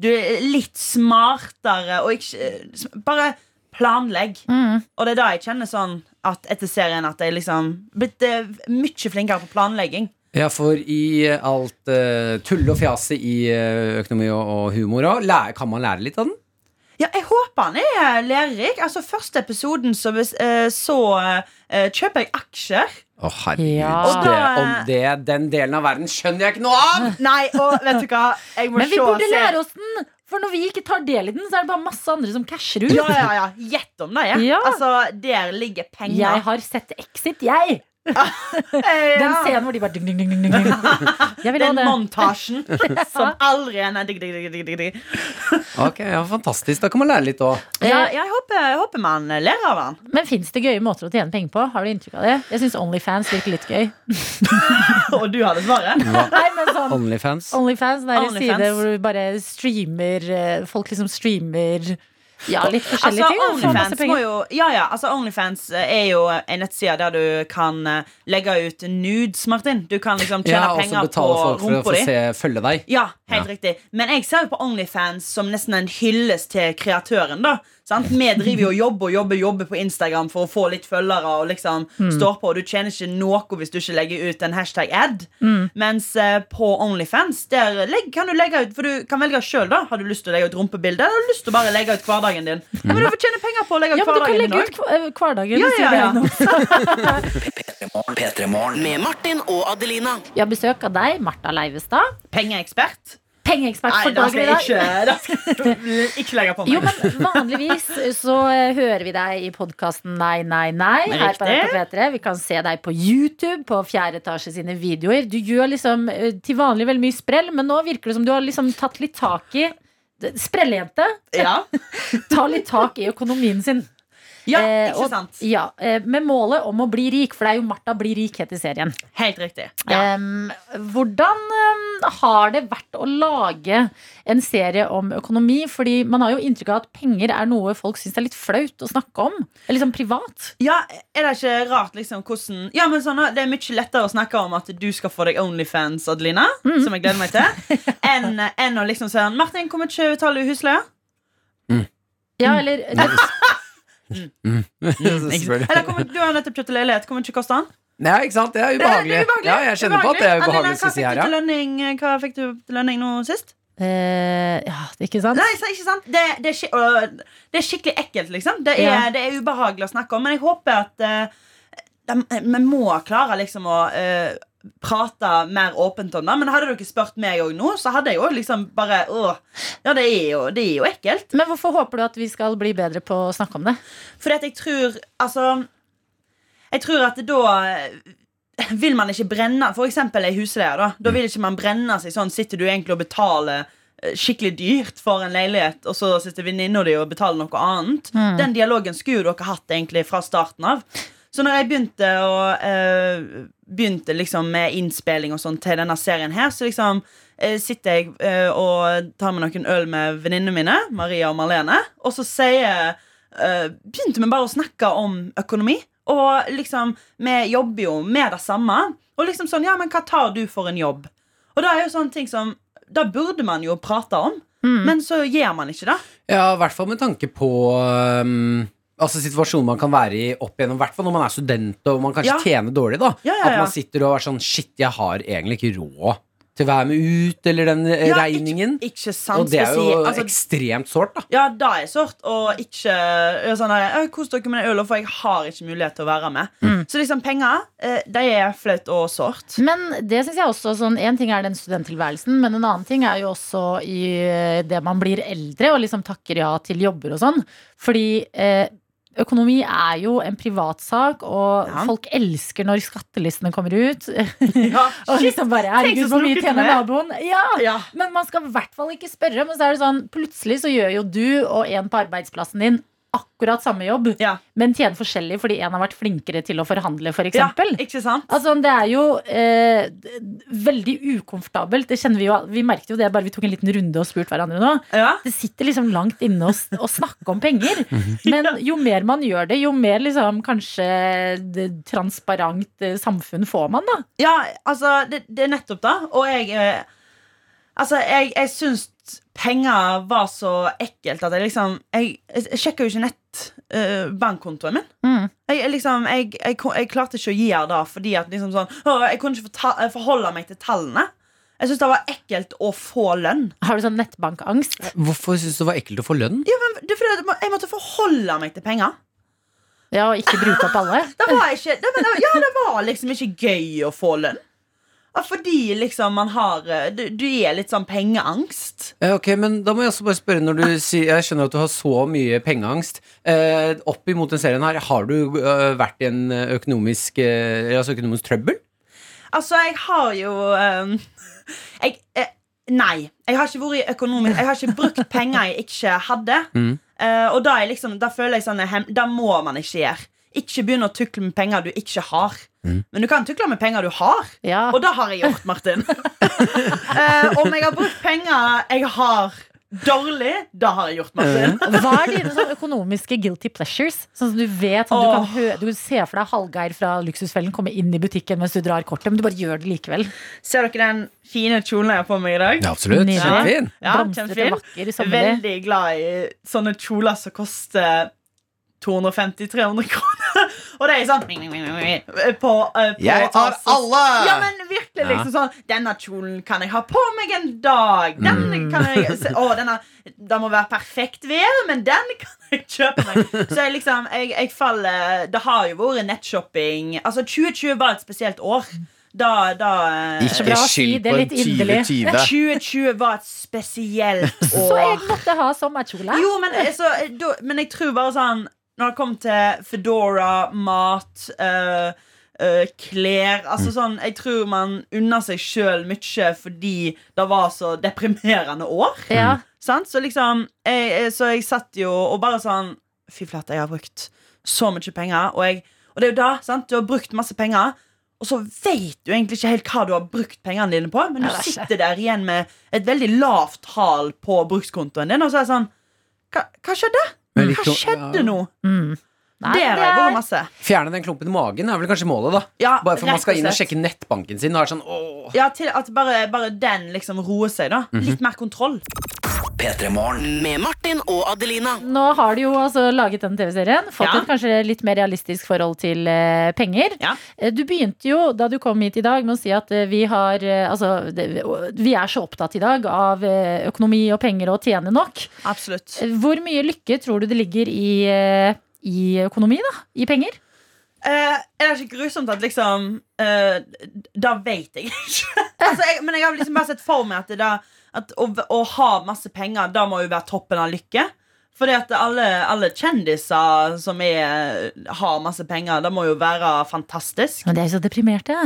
[SPEAKER 8] du er litt smartere og ikke eh, Bare planlegg. Og det er da jeg kjenner sånn at etter serien at jeg liksom blitt eh, mye flinkere på planlegging.
[SPEAKER 3] Ja, for i eh, alt uh, tullet og fjaset i eh, økonomi og, og humor også, læ- kan man lære litt av den?
[SPEAKER 8] Ja, jeg håper han er lærerik. Altså, første episoden så, bes- eh, så eh, kjøper jeg aksjer.
[SPEAKER 3] Å, herregud.
[SPEAKER 2] Ja.
[SPEAKER 3] Det, om det, den delen av verden skjønner jeg ikke noe av!
[SPEAKER 8] Nei, og vet du hva? Jeg må
[SPEAKER 2] Men vi
[SPEAKER 8] se
[SPEAKER 2] burde
[SPEAKER 8] serien.
[SPEAKER 2] lære oss den! For når vi ikke tar del i den, så er det bare masse andre som casher ut.
[SPEAKER 8] Ja, ja, ja. Gjett om det. Ja.
[SPEAKER 2] Ja.
[SPEAKER 8] Altså, der ligger penger.
[SPEAKER 2] Jeg har sett Exit, jeg!
[SPEAKER 8] Eh,
[SPEAKER 2] Den
[SPEAKER 8] ja.
[SPEAKER 2] scenen hvor de bare ding, ding, ding, ding, ding. Jeg vil ha
[SPEAKER 8] Den
[SPEAKER 2] det.
[SPEAKER 8] montasjen som aldri er nei, digg, digg, digg, digg, digg, digg.
[SPEAKER 3] Ok, ja, Fantastisk. Da kan man lære litt òg.
[SPEAKER 8] Ja, jeg håper, jeg håper man ler av den.
[SPEAKER 2] Men fins det gøye måter å tjene penger på? Har du inntrykk av det? Jeg syns Onlyfans virker litt gøy.
[SPEAKER 8] Og du hadde svaret.
[SPEAKER 2] Nei, men sånn
[SPEAKER 3] Onlyfans.
[SPEAKER 2] Onlyfans, det er en
[SPEAKER 8] Onlyfans.
[SPEAKER 2] side hvor du bare streamer eh, Folk liksom streamer ja, litt forskjellige
[SPEAKER 8] Altså,
[SPEAKER 2] ting. og får masse
[SPEAKER 8] Onlyfans
[SPEAKER 2] penger.
[SPEAKER 8] må jo Ja, ja, altså Onlyfans er jo en nettside der du kan eh, legge ut nudes, Martin. Du kan liksom tjene
[SPEAKER 3] Ja, og så
[SPEAKER 8] penger på
[SPEAKER 3] betaler folk for å
[SPEAKER 8] rumpa
[SPEAKER 3] få
[SPEAKER 8] di.
[SPEAKER 3] se, følge deg.
[SPEAKER 8] Ja, helt riktig. Men jeg ser jo på Onlyfans som nesten en hyllest til kreatøren. da sant? Vi driver jo og jobber og jobber, jobber på Instagram for å få litt følgere. Og liksom
[SPEAKER 2] Mm.
[SPEAKER 8] står på, og Du tjener ikke noe hvis du ikke legger ut en hashtag-ad.
[SPEAKER 2] Mm.
[SPEAKER 8] Mens eh, på Onlyfans der legg, kan du legge ut For du kan velge sjøl. Har du lyst til å legge ut rumpebilde eller har du lyst til å bare legge ut hverdagen din? Ja, men Du får tjene penger på å legge ut
[SPEAKER 2] Ja, men du kan
[SPEAKER 8] hverdagen din òg.
[SPEAKER 2] legge ut hver- hverdagen.
[SPEAKER 8] Ja,
[SPEAKER 2] sier
[SPEAKER 8] ja,
[SPEAKER 2] det
[SPEAKER 8] ja.
[SPEAKER 2] nå.
[SPEAKER 4] P3-morgen. Med Martin og Adelina.
[SPEAKER 2] Vi har besøk av deg, Martha Leivestad.
[SPEAKER 8] Pengeekspert.
[SPEAKER 2] Pengeekspert
[SPEAKER 8] Nei,
[SPEAKER 2] for
[SPEAKER 8] da
[SPEAKER 2] dagen i
[SPEAKER 8] skal jeg ikke,
[SPEAKER 2] dag.
[SPEAKER 8] da skal jeg ikke legge på meg.
[SPEAKER 2] Jo, men vanligvis så eh, hører vi deg i podkasten Nei, nei, nei. Her på
[SPEAKER 8] Riktig.
[SPEAKER 2] NRK P3. Vi kan se deg på YouTube, på Fjerde etasje sine videoer. Du gjør liksom eh, til vanlig veldig mye sprell, men nå virker det som du har liksom tatt litt tak i det- Sprelljente
[SPEAKER 8] Ja,
[SPEAKER 2] tar litt tak i økonomien sin.
[SPEAKER 8] ja
[SPEAKER 2] Eh,
[SPEAKER 8] ikke
[SPEAKER 2] og-
[SPEAKER 8] sant?
[SPEAKER 2] Ja, eh, Med målet om å bli rik, for det er jo Martha blir rik het i serien.
[SPEAKER 8] Helt riktig.
[SPEAKER 2] Em, hvordan em, har det vært å lage en serie om økonomi? Fordi man har jo inntrykk av at penger er noe folk syns er litt flaut å snakke om. Eller liksom privat.
[SPEAKER 8] Ja, er det ikke rart liksom hvordan Ja, men sånn, Det er mye lettere å snakke om at du skal få deg Onlyfans, Adelina, som jeg gleder meg til, enn enn å liksom si sånn, Martin, hvor mye betaler du i husleie?
[SPEAKER 2] Ja, eller
[SPEAKER 3] Selvfølgelig.
[SPEAKER 8] Eller hvor mye- du har jo nettopp kjøpt leilighet, hvor mye koster den?
[SPEAKER 3] Ja, ikke sant? Det er ubehagelig. Ja, jeg kjenner på at det er ubehagelig å
[SPEAKER 8] Adelina, hva
[SPEAKER 3] si
[SPEAKER 8] fikk
[SPEAKER 3] her,
[SPEAKER 8] du til
[SPEAKER 3] ja.
[SPEAKER 8] lønning, hva fikk du til lønning nå sist?
[SPEAKER 2] eh, Ja, det er ikke sant?
[SPEAKER 8] Nei, så- ikke sant? Det, det, er, skik øh, det er skikkelig ekkelt, liksom. Det er,
[SPEAKER 2] Ja.
[SPEAKER 8] det er ubehagelig å snakke om, men jeg håper at eh, dem- eh, vi må klare liksom å eh, prate mer åpent om det. Men hadde dere spurt meg òg nå, så hadde jeg jo liksom bare åh, Ja, det er jo, det er jo ekkelt.
[SPEAKER 2] Men hvorfor håper du at vi skal bli bedre på å snakke om det?
[SPEAKER 8] Fordi at jeg tror Altså Jeg tror at da eh, vil man ikke brenne For eksempel ei husleie da Da vil ikke man brenne seg sånn Sitter du egentlig og betaler skikkelig dyrt for en leilighet, og så sitter venninna di og betaler noe annet.
[SPEAKER 12] Mm.
[SPEAKER 8] Den dialogen skulle jo dere hatt egentlig fra starten av. Så når jeg begynte å eh, Begynte liksom med innspilling og sånn til denne serien her, så liksom eh, sitter jeg eh, og tar meg noen øl med venninnene mine, Maria og Marlene, og så sier eh, Begynte vi bare å snakke om økonomi. Og liksom, vi jobber jo med det samme. Og liksom sånn, ja, men hva tar du for en jobb? Og det er jo sånne ting som Da burde man jo prate om, men så gjør man ikke det.
[SPEAKER 3] Ja, i hvert fall med tanke på um, Altså situasjonen man kan være i opp igjennom, i hvert fall når man er student og man kanskje
[SPEAKER 8] Ja.
[SPEAKER 3] tjener dårlig. da
[SPEAKER 8] Ja, ja,
[SPEAKER 3] At
[SPEAKER 8] ja.
[SPEAKER 3] man sitter og er sånn Shit, jeg har egentlig ikke råd til å være med ut, eller den eh,
[SPEAKER 8] Ja,
[SPEAKER 3] regningen.
[SPEAKER 8] Ikke, ikke sant,
[SPEAKER 3] og det er jo
[SPEAKER 8] spesielt- altså,
[SPEAKER 3] ekstremt sårt, da.
[SPEAKER 8] Ja, det er sårt. Og ikke ja, sånn der, «Å, Kos dere med den ølen, for jeg har ikke mulighet til å være med.
[SPEAKER 3] Mm.
[SPEAKER 8] Så liksom penger, eh, de er flaut og sårt.
[SPEAKER 2] Men det synes jeg også sånn, En ting er den studenttilværelsen, men en annen ting er jo også i eh, det man blir eldre og liksom takker ja til jobber og sånn. Fordi eh, økonomi er jo en privatsak, og folk elsker når skattelistene kommer ut. og liksom bare
[SPEAKER 12] Tenk så
[SPEAKER 2] Herregud, hvor mye
[SPEAKER 12] snukket
[SPEAKER 2] tjener
[SPEAKER 12] med."
[SPEAKER 2] naboen? Ja, Men man skal i hvert fall ikke spørre. Men så er det sånn, plutselig så gjør jo du og en på arbeidsplassen din akkurat samme jobb, men tjener forskjellig fordi en har vært flinkere til å forhandle, for
[SPEAKER 8] Ja,
[SPEAKER 2] eksempel.
[SPEAKER 8] ikke sant?
[SPEAKER 2] Altså, det er jo eh, d- veldig ukomfortabelt. Det kjenner Vi jo Vi merket jo det bare vi tok en liten runde og spurte hverandre nå. Det sitter liksom langt inne å s- å snakke om penger.
[SPEAKER 8] Mhm.
[SPEAKER 2] Men jo mer man gjør det, jo mer liksom kanskje det transparent eh, samfunn får man, da.
[SPEAKER 8] Ja, altså, det, det er nettopp det. Og jeg eh, Altså, jeg, jeg syns penger var så ekkelt at jeg liksom Jeg, jeg sjekker jo ikke nett eh, bankkontoen min. Jeg, jeg liksom, jeg, jeg, kon- jeg klarte ikke å gi her da fordi at liksom sånn «Å, Jeg kunne ikke forta- eh, forholde meg til tallene. Jeg syns det var ekkelt å få lønn.
[SPEAKER 2] Har du sånn nettbankangst?
[SPEAKER 3] Hvorfor syns du det var ekkelt å få lønn?
[SPEAKER 8] Ja, men det er fordi at Jeg måtte forholde meg til penger.
[SPEAKER 2] Ja, og ikke bruke opp alle?
[SPEAKER 8] Det var ikke det, men det, Ja, det var liksom ikke gøy å få lønn. Ja, Fordi liksom man har eh, Du, du er litt sånn pengeangst.
[SPEAKER 3] Ja, Eh, Ok, men da må jeg også bare spørre når du sier, Jeg skjønner at du har så mye pengeangst eh, Opp imot den serien her Har du eh, vært i en økonomisk eh, Altså økonomisk trøbbel?
[SPEAKER 8] Altså, jeg har jo ehm, jeg, eh, Nei. Jeg har ikke vært i økonomisk Jeg har ikke brukt penger jeg ikke hadde. Eh, og da, er jeg liksom, da føler jeg sånn eh, hem- Da må man ikke gjøre. Ikke begynne å tukle med penger du ikke har. Men du kan tukle med penger du har. Og det har jeg gjort, Martin. Eh, om jeg har brukt penger jeg har dårlig, da har jeg gjort, Martin.
[SPEAKER 2] Hva er dine sånn økonomiske guilty pleasures? Sånn som Du vet, sånn, du, kan hø du ser for deg Hallgeir fra Luksusfellen komme inn i butikken mens du drar kortet, men du bare gjør det likevel.
[SPEAKER 8] Ser dere den fine kjolen jeg har på meg i dag?
[SPEAKER 3] Ja, absolutt.
[SPEAKER 8] Nydelig.
[SPEAKER 3] Kjempefin.
[SPEAKER 8] Ja,
[SPEAKER 2] Blomstrete,
[SPEAKER 8] kjempefin.
[SPEAKER 2] vakker, sommerlig.
[SPEAKER 8] Veldig glad i sånne kjoler som koster 250-300 kroner. Og det er sånn på, eh, på
[SPEAKER 12] Jeg tar
[SPEAKER 8] Asos.
[SPEAKER 12] alle!
[SPEAKER 8] Ja, men virkelig
[SPEAKER 12] Ja.
[SPEAKER 8] liksom sånn Denne kjolen kan jeg ha på meg en dag. Den kan jeg se- Å, denne Det må være perfekt vær, men den kan jeg kjøpe meg. Så jeg liksom jeg, jeg faller Det har jo vært nettshopping. Altså, 2020 var et spesielt år. Da, da eh,
[SPEAKER 12] Ikke Bra å si, skyld det er på litt en inderlig. 2020.
[SPEAKER 8] 2020 var et spesielt år.
[SPEAKER 2] Så jeg måtte ha sommerkjole.
[SPEAKER 8] Jo, men, altså, da, men jeg tror bare sånn Når det kom til Fedora, mat øh, øh, Klær Altså
[SPEAKER 4] Mm.
[SPEAKER 8] sånn, jeg tror man unner seg selv mye Fordi det var så deprimerende år
[SPEAKER 2] Ja.
[SPEAKER 8] Sant? Så liksom jeg, jeg- Så jeg satt jo og bare sånn Fy flate, jeg har brukt så mye penger Og, jeg, og det er jo da, sant? Du har brukt masse penger og så vet du egentlig ikke helt hva du har brukt pengene dine på Men
[SPEAKER 12] Ja,
[SPEAKER 8] du
[SPEAKER 12] det er ikke.
[SPEAKER 8] sitter der igjen med et veldig lavt tal på brukskontoen din Og så er det sånn, hva, hva skjedde?
[SPEAKER 3] Men litt
[SPEAKER 8] Hva
[SPEAKER 3] sånn-
[SPEAKER 8] skjedde
[SPEAKER 3] ja.
[SPEAKER 8] nå?
[SPEAKER 2] Mm. Nei,
[SPEAKER 8] det
[SPEAKER 2] men
[SPEAKER 8] har
[SPEAKER 2] det
[SPEAKER 8] jeg
[SPEAKER 2] er-
[SPEAKER 8] vært masse.
[SPEAKER 3] Fjerne den klumpen i magen er vel kanskje målet da
[SPEAKER 8] Ja,
[SPEAKER 3] Bare for
[SPEAKER 8] rett
[SPEAKER 3] man skal
[SPEAKER 8] og
[SPEAKER 3] inn og
[SPEAKER 8] slett.
[SPEAKER 3] sjekke nettbanken sin Og er sånn, åh
[SPEAKER 8] Ja, til at bare, bare den liksom roer seg, da. Litt mer kontroll.
[SPEAKER 4] Med Martin og Adelina.
[SPEAKER 2] Nå har du jo altså laget den TV-serien. Fått
[SPEAKER 4] Ja.
[SPEAKER 2] et kanskje litt mer realistisk forhold til eh, penger. Eh, Du begynte jo da du kom hit i dag med å si at eh, vi har eh, Altså, det, vi er så opptatt i dag av eh, økonomi og penger og å tjene nok.
[SPEAKER 8] Absolutt.
[SPEAKER 2] Eh, Hvor mye lykke tror du det ligger i, eh, i økonomi, da? I penger?
[SPEAKER 8] Eh, er det ikke grusomt at liksom eh, Da vet jeg ikke. altså, jeg, men jeg har liksom bare sett for meg at, det da, at å, å ha masse penger, da må jo være toppen av lykke. Fordi at alle, alle kjendiser som er, har masse penger, det må jo være fantastisk.
[SPEAKER 2] Men de er jo så deprimerte.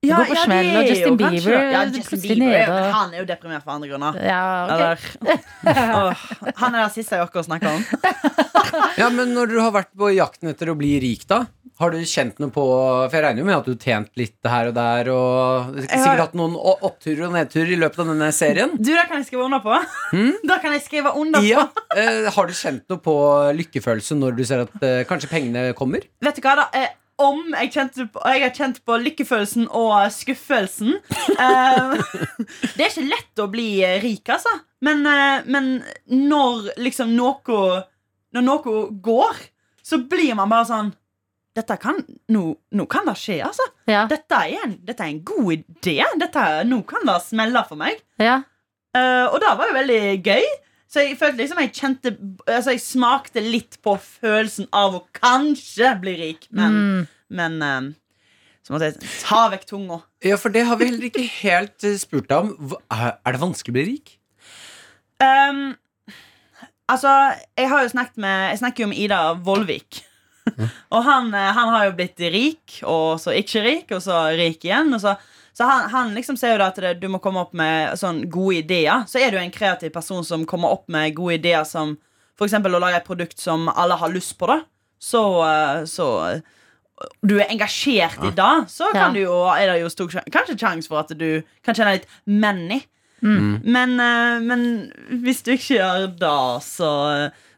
[SPEAKER 2] Det går på smell, og
[SPEAKER 8] er
[SPEAKER 2] Justin
[SPEAKER 8] jo
[SPEAKER 2] Bieber
[SPEAKER 8] kanskje det. ja,
[SPEAKER 2] plutselig
[SPEAKER 8] Justin Bieber er jo,
[SPEAKER 2] nede, og-
[SPEAKER 8] Han er jo deprimert for andre grunner.
[SPEAKER 2] Ja, ok.
[SPEAKER 8] Eller- Åh, han er den siste jeg orker å snakke om.
[SPEAKER 3] Ja, men når du har vært på jakten etter å bli rik, da? Har du kjent noe på For jeg regner jo med at du har tjent litt her og der, og sikkert hatt noen å- oppturer og nedturer i løpet av denne serien?
[SPEAKER 8] Du, det kan jeg skrive under på.
[SPEAKER 2] Hm?
[SPEAKER 8] Da kan jeg skrive under på.
[SPEAKER 3] Ja, eh, Har du kjent noe på lykkefølelse når du ser at eh, kanskje pengene kommer?
[SPEAKER 8] Vet du hva da? Eh, om jeg, kjente på, jeg har kjent på lykkefølelsen og skuffelsen. Eh, det er ikke lett å bli eh, rik, altså. Men, eh, men når liksom noe Når noe går, så blir man bare sånn dette kan, nå, nå kan det skje, altså. Dette, er en, dette er en god idé. Dette, nå kan det smelle for meg. Eh, og det var jo veldig gøy. Så jeg følte liksom jeg kjente Altså jeg smakte litt på følelsen av å kanskje bli rik, men, men eh, så måtte jeg ta vekk tunga.
[SPEAKER 3] Ja, for det har vi heller ikke helt eh, spurt deg om. Hva- Er er det vanskelig å bli rik?
[SPEAKER 8] Ehm, altså, jeg har jo snakket med Jeg snakker jo med Ida Vollvik. og han, eh, han har jo blitt rik, og så ikke rik, og så rik igjen. Og så, så han, han liksom ser jo da at det, du må komme opp med sånn gode ideer. Så er du en kreativ person som kommer opp med gode ideer som f.eks. å lage et produkt som alle har lyst på, da. Så, eh, så eh, du er engasjert i det, så kan du jo, er det jo stor sjan- kanskje sjanse for at du kan kjenne litt manny.
[SPEAKER 13] Mm.
[SPEAKER 8] Men, eh, men hvis du ikke gjør det, så,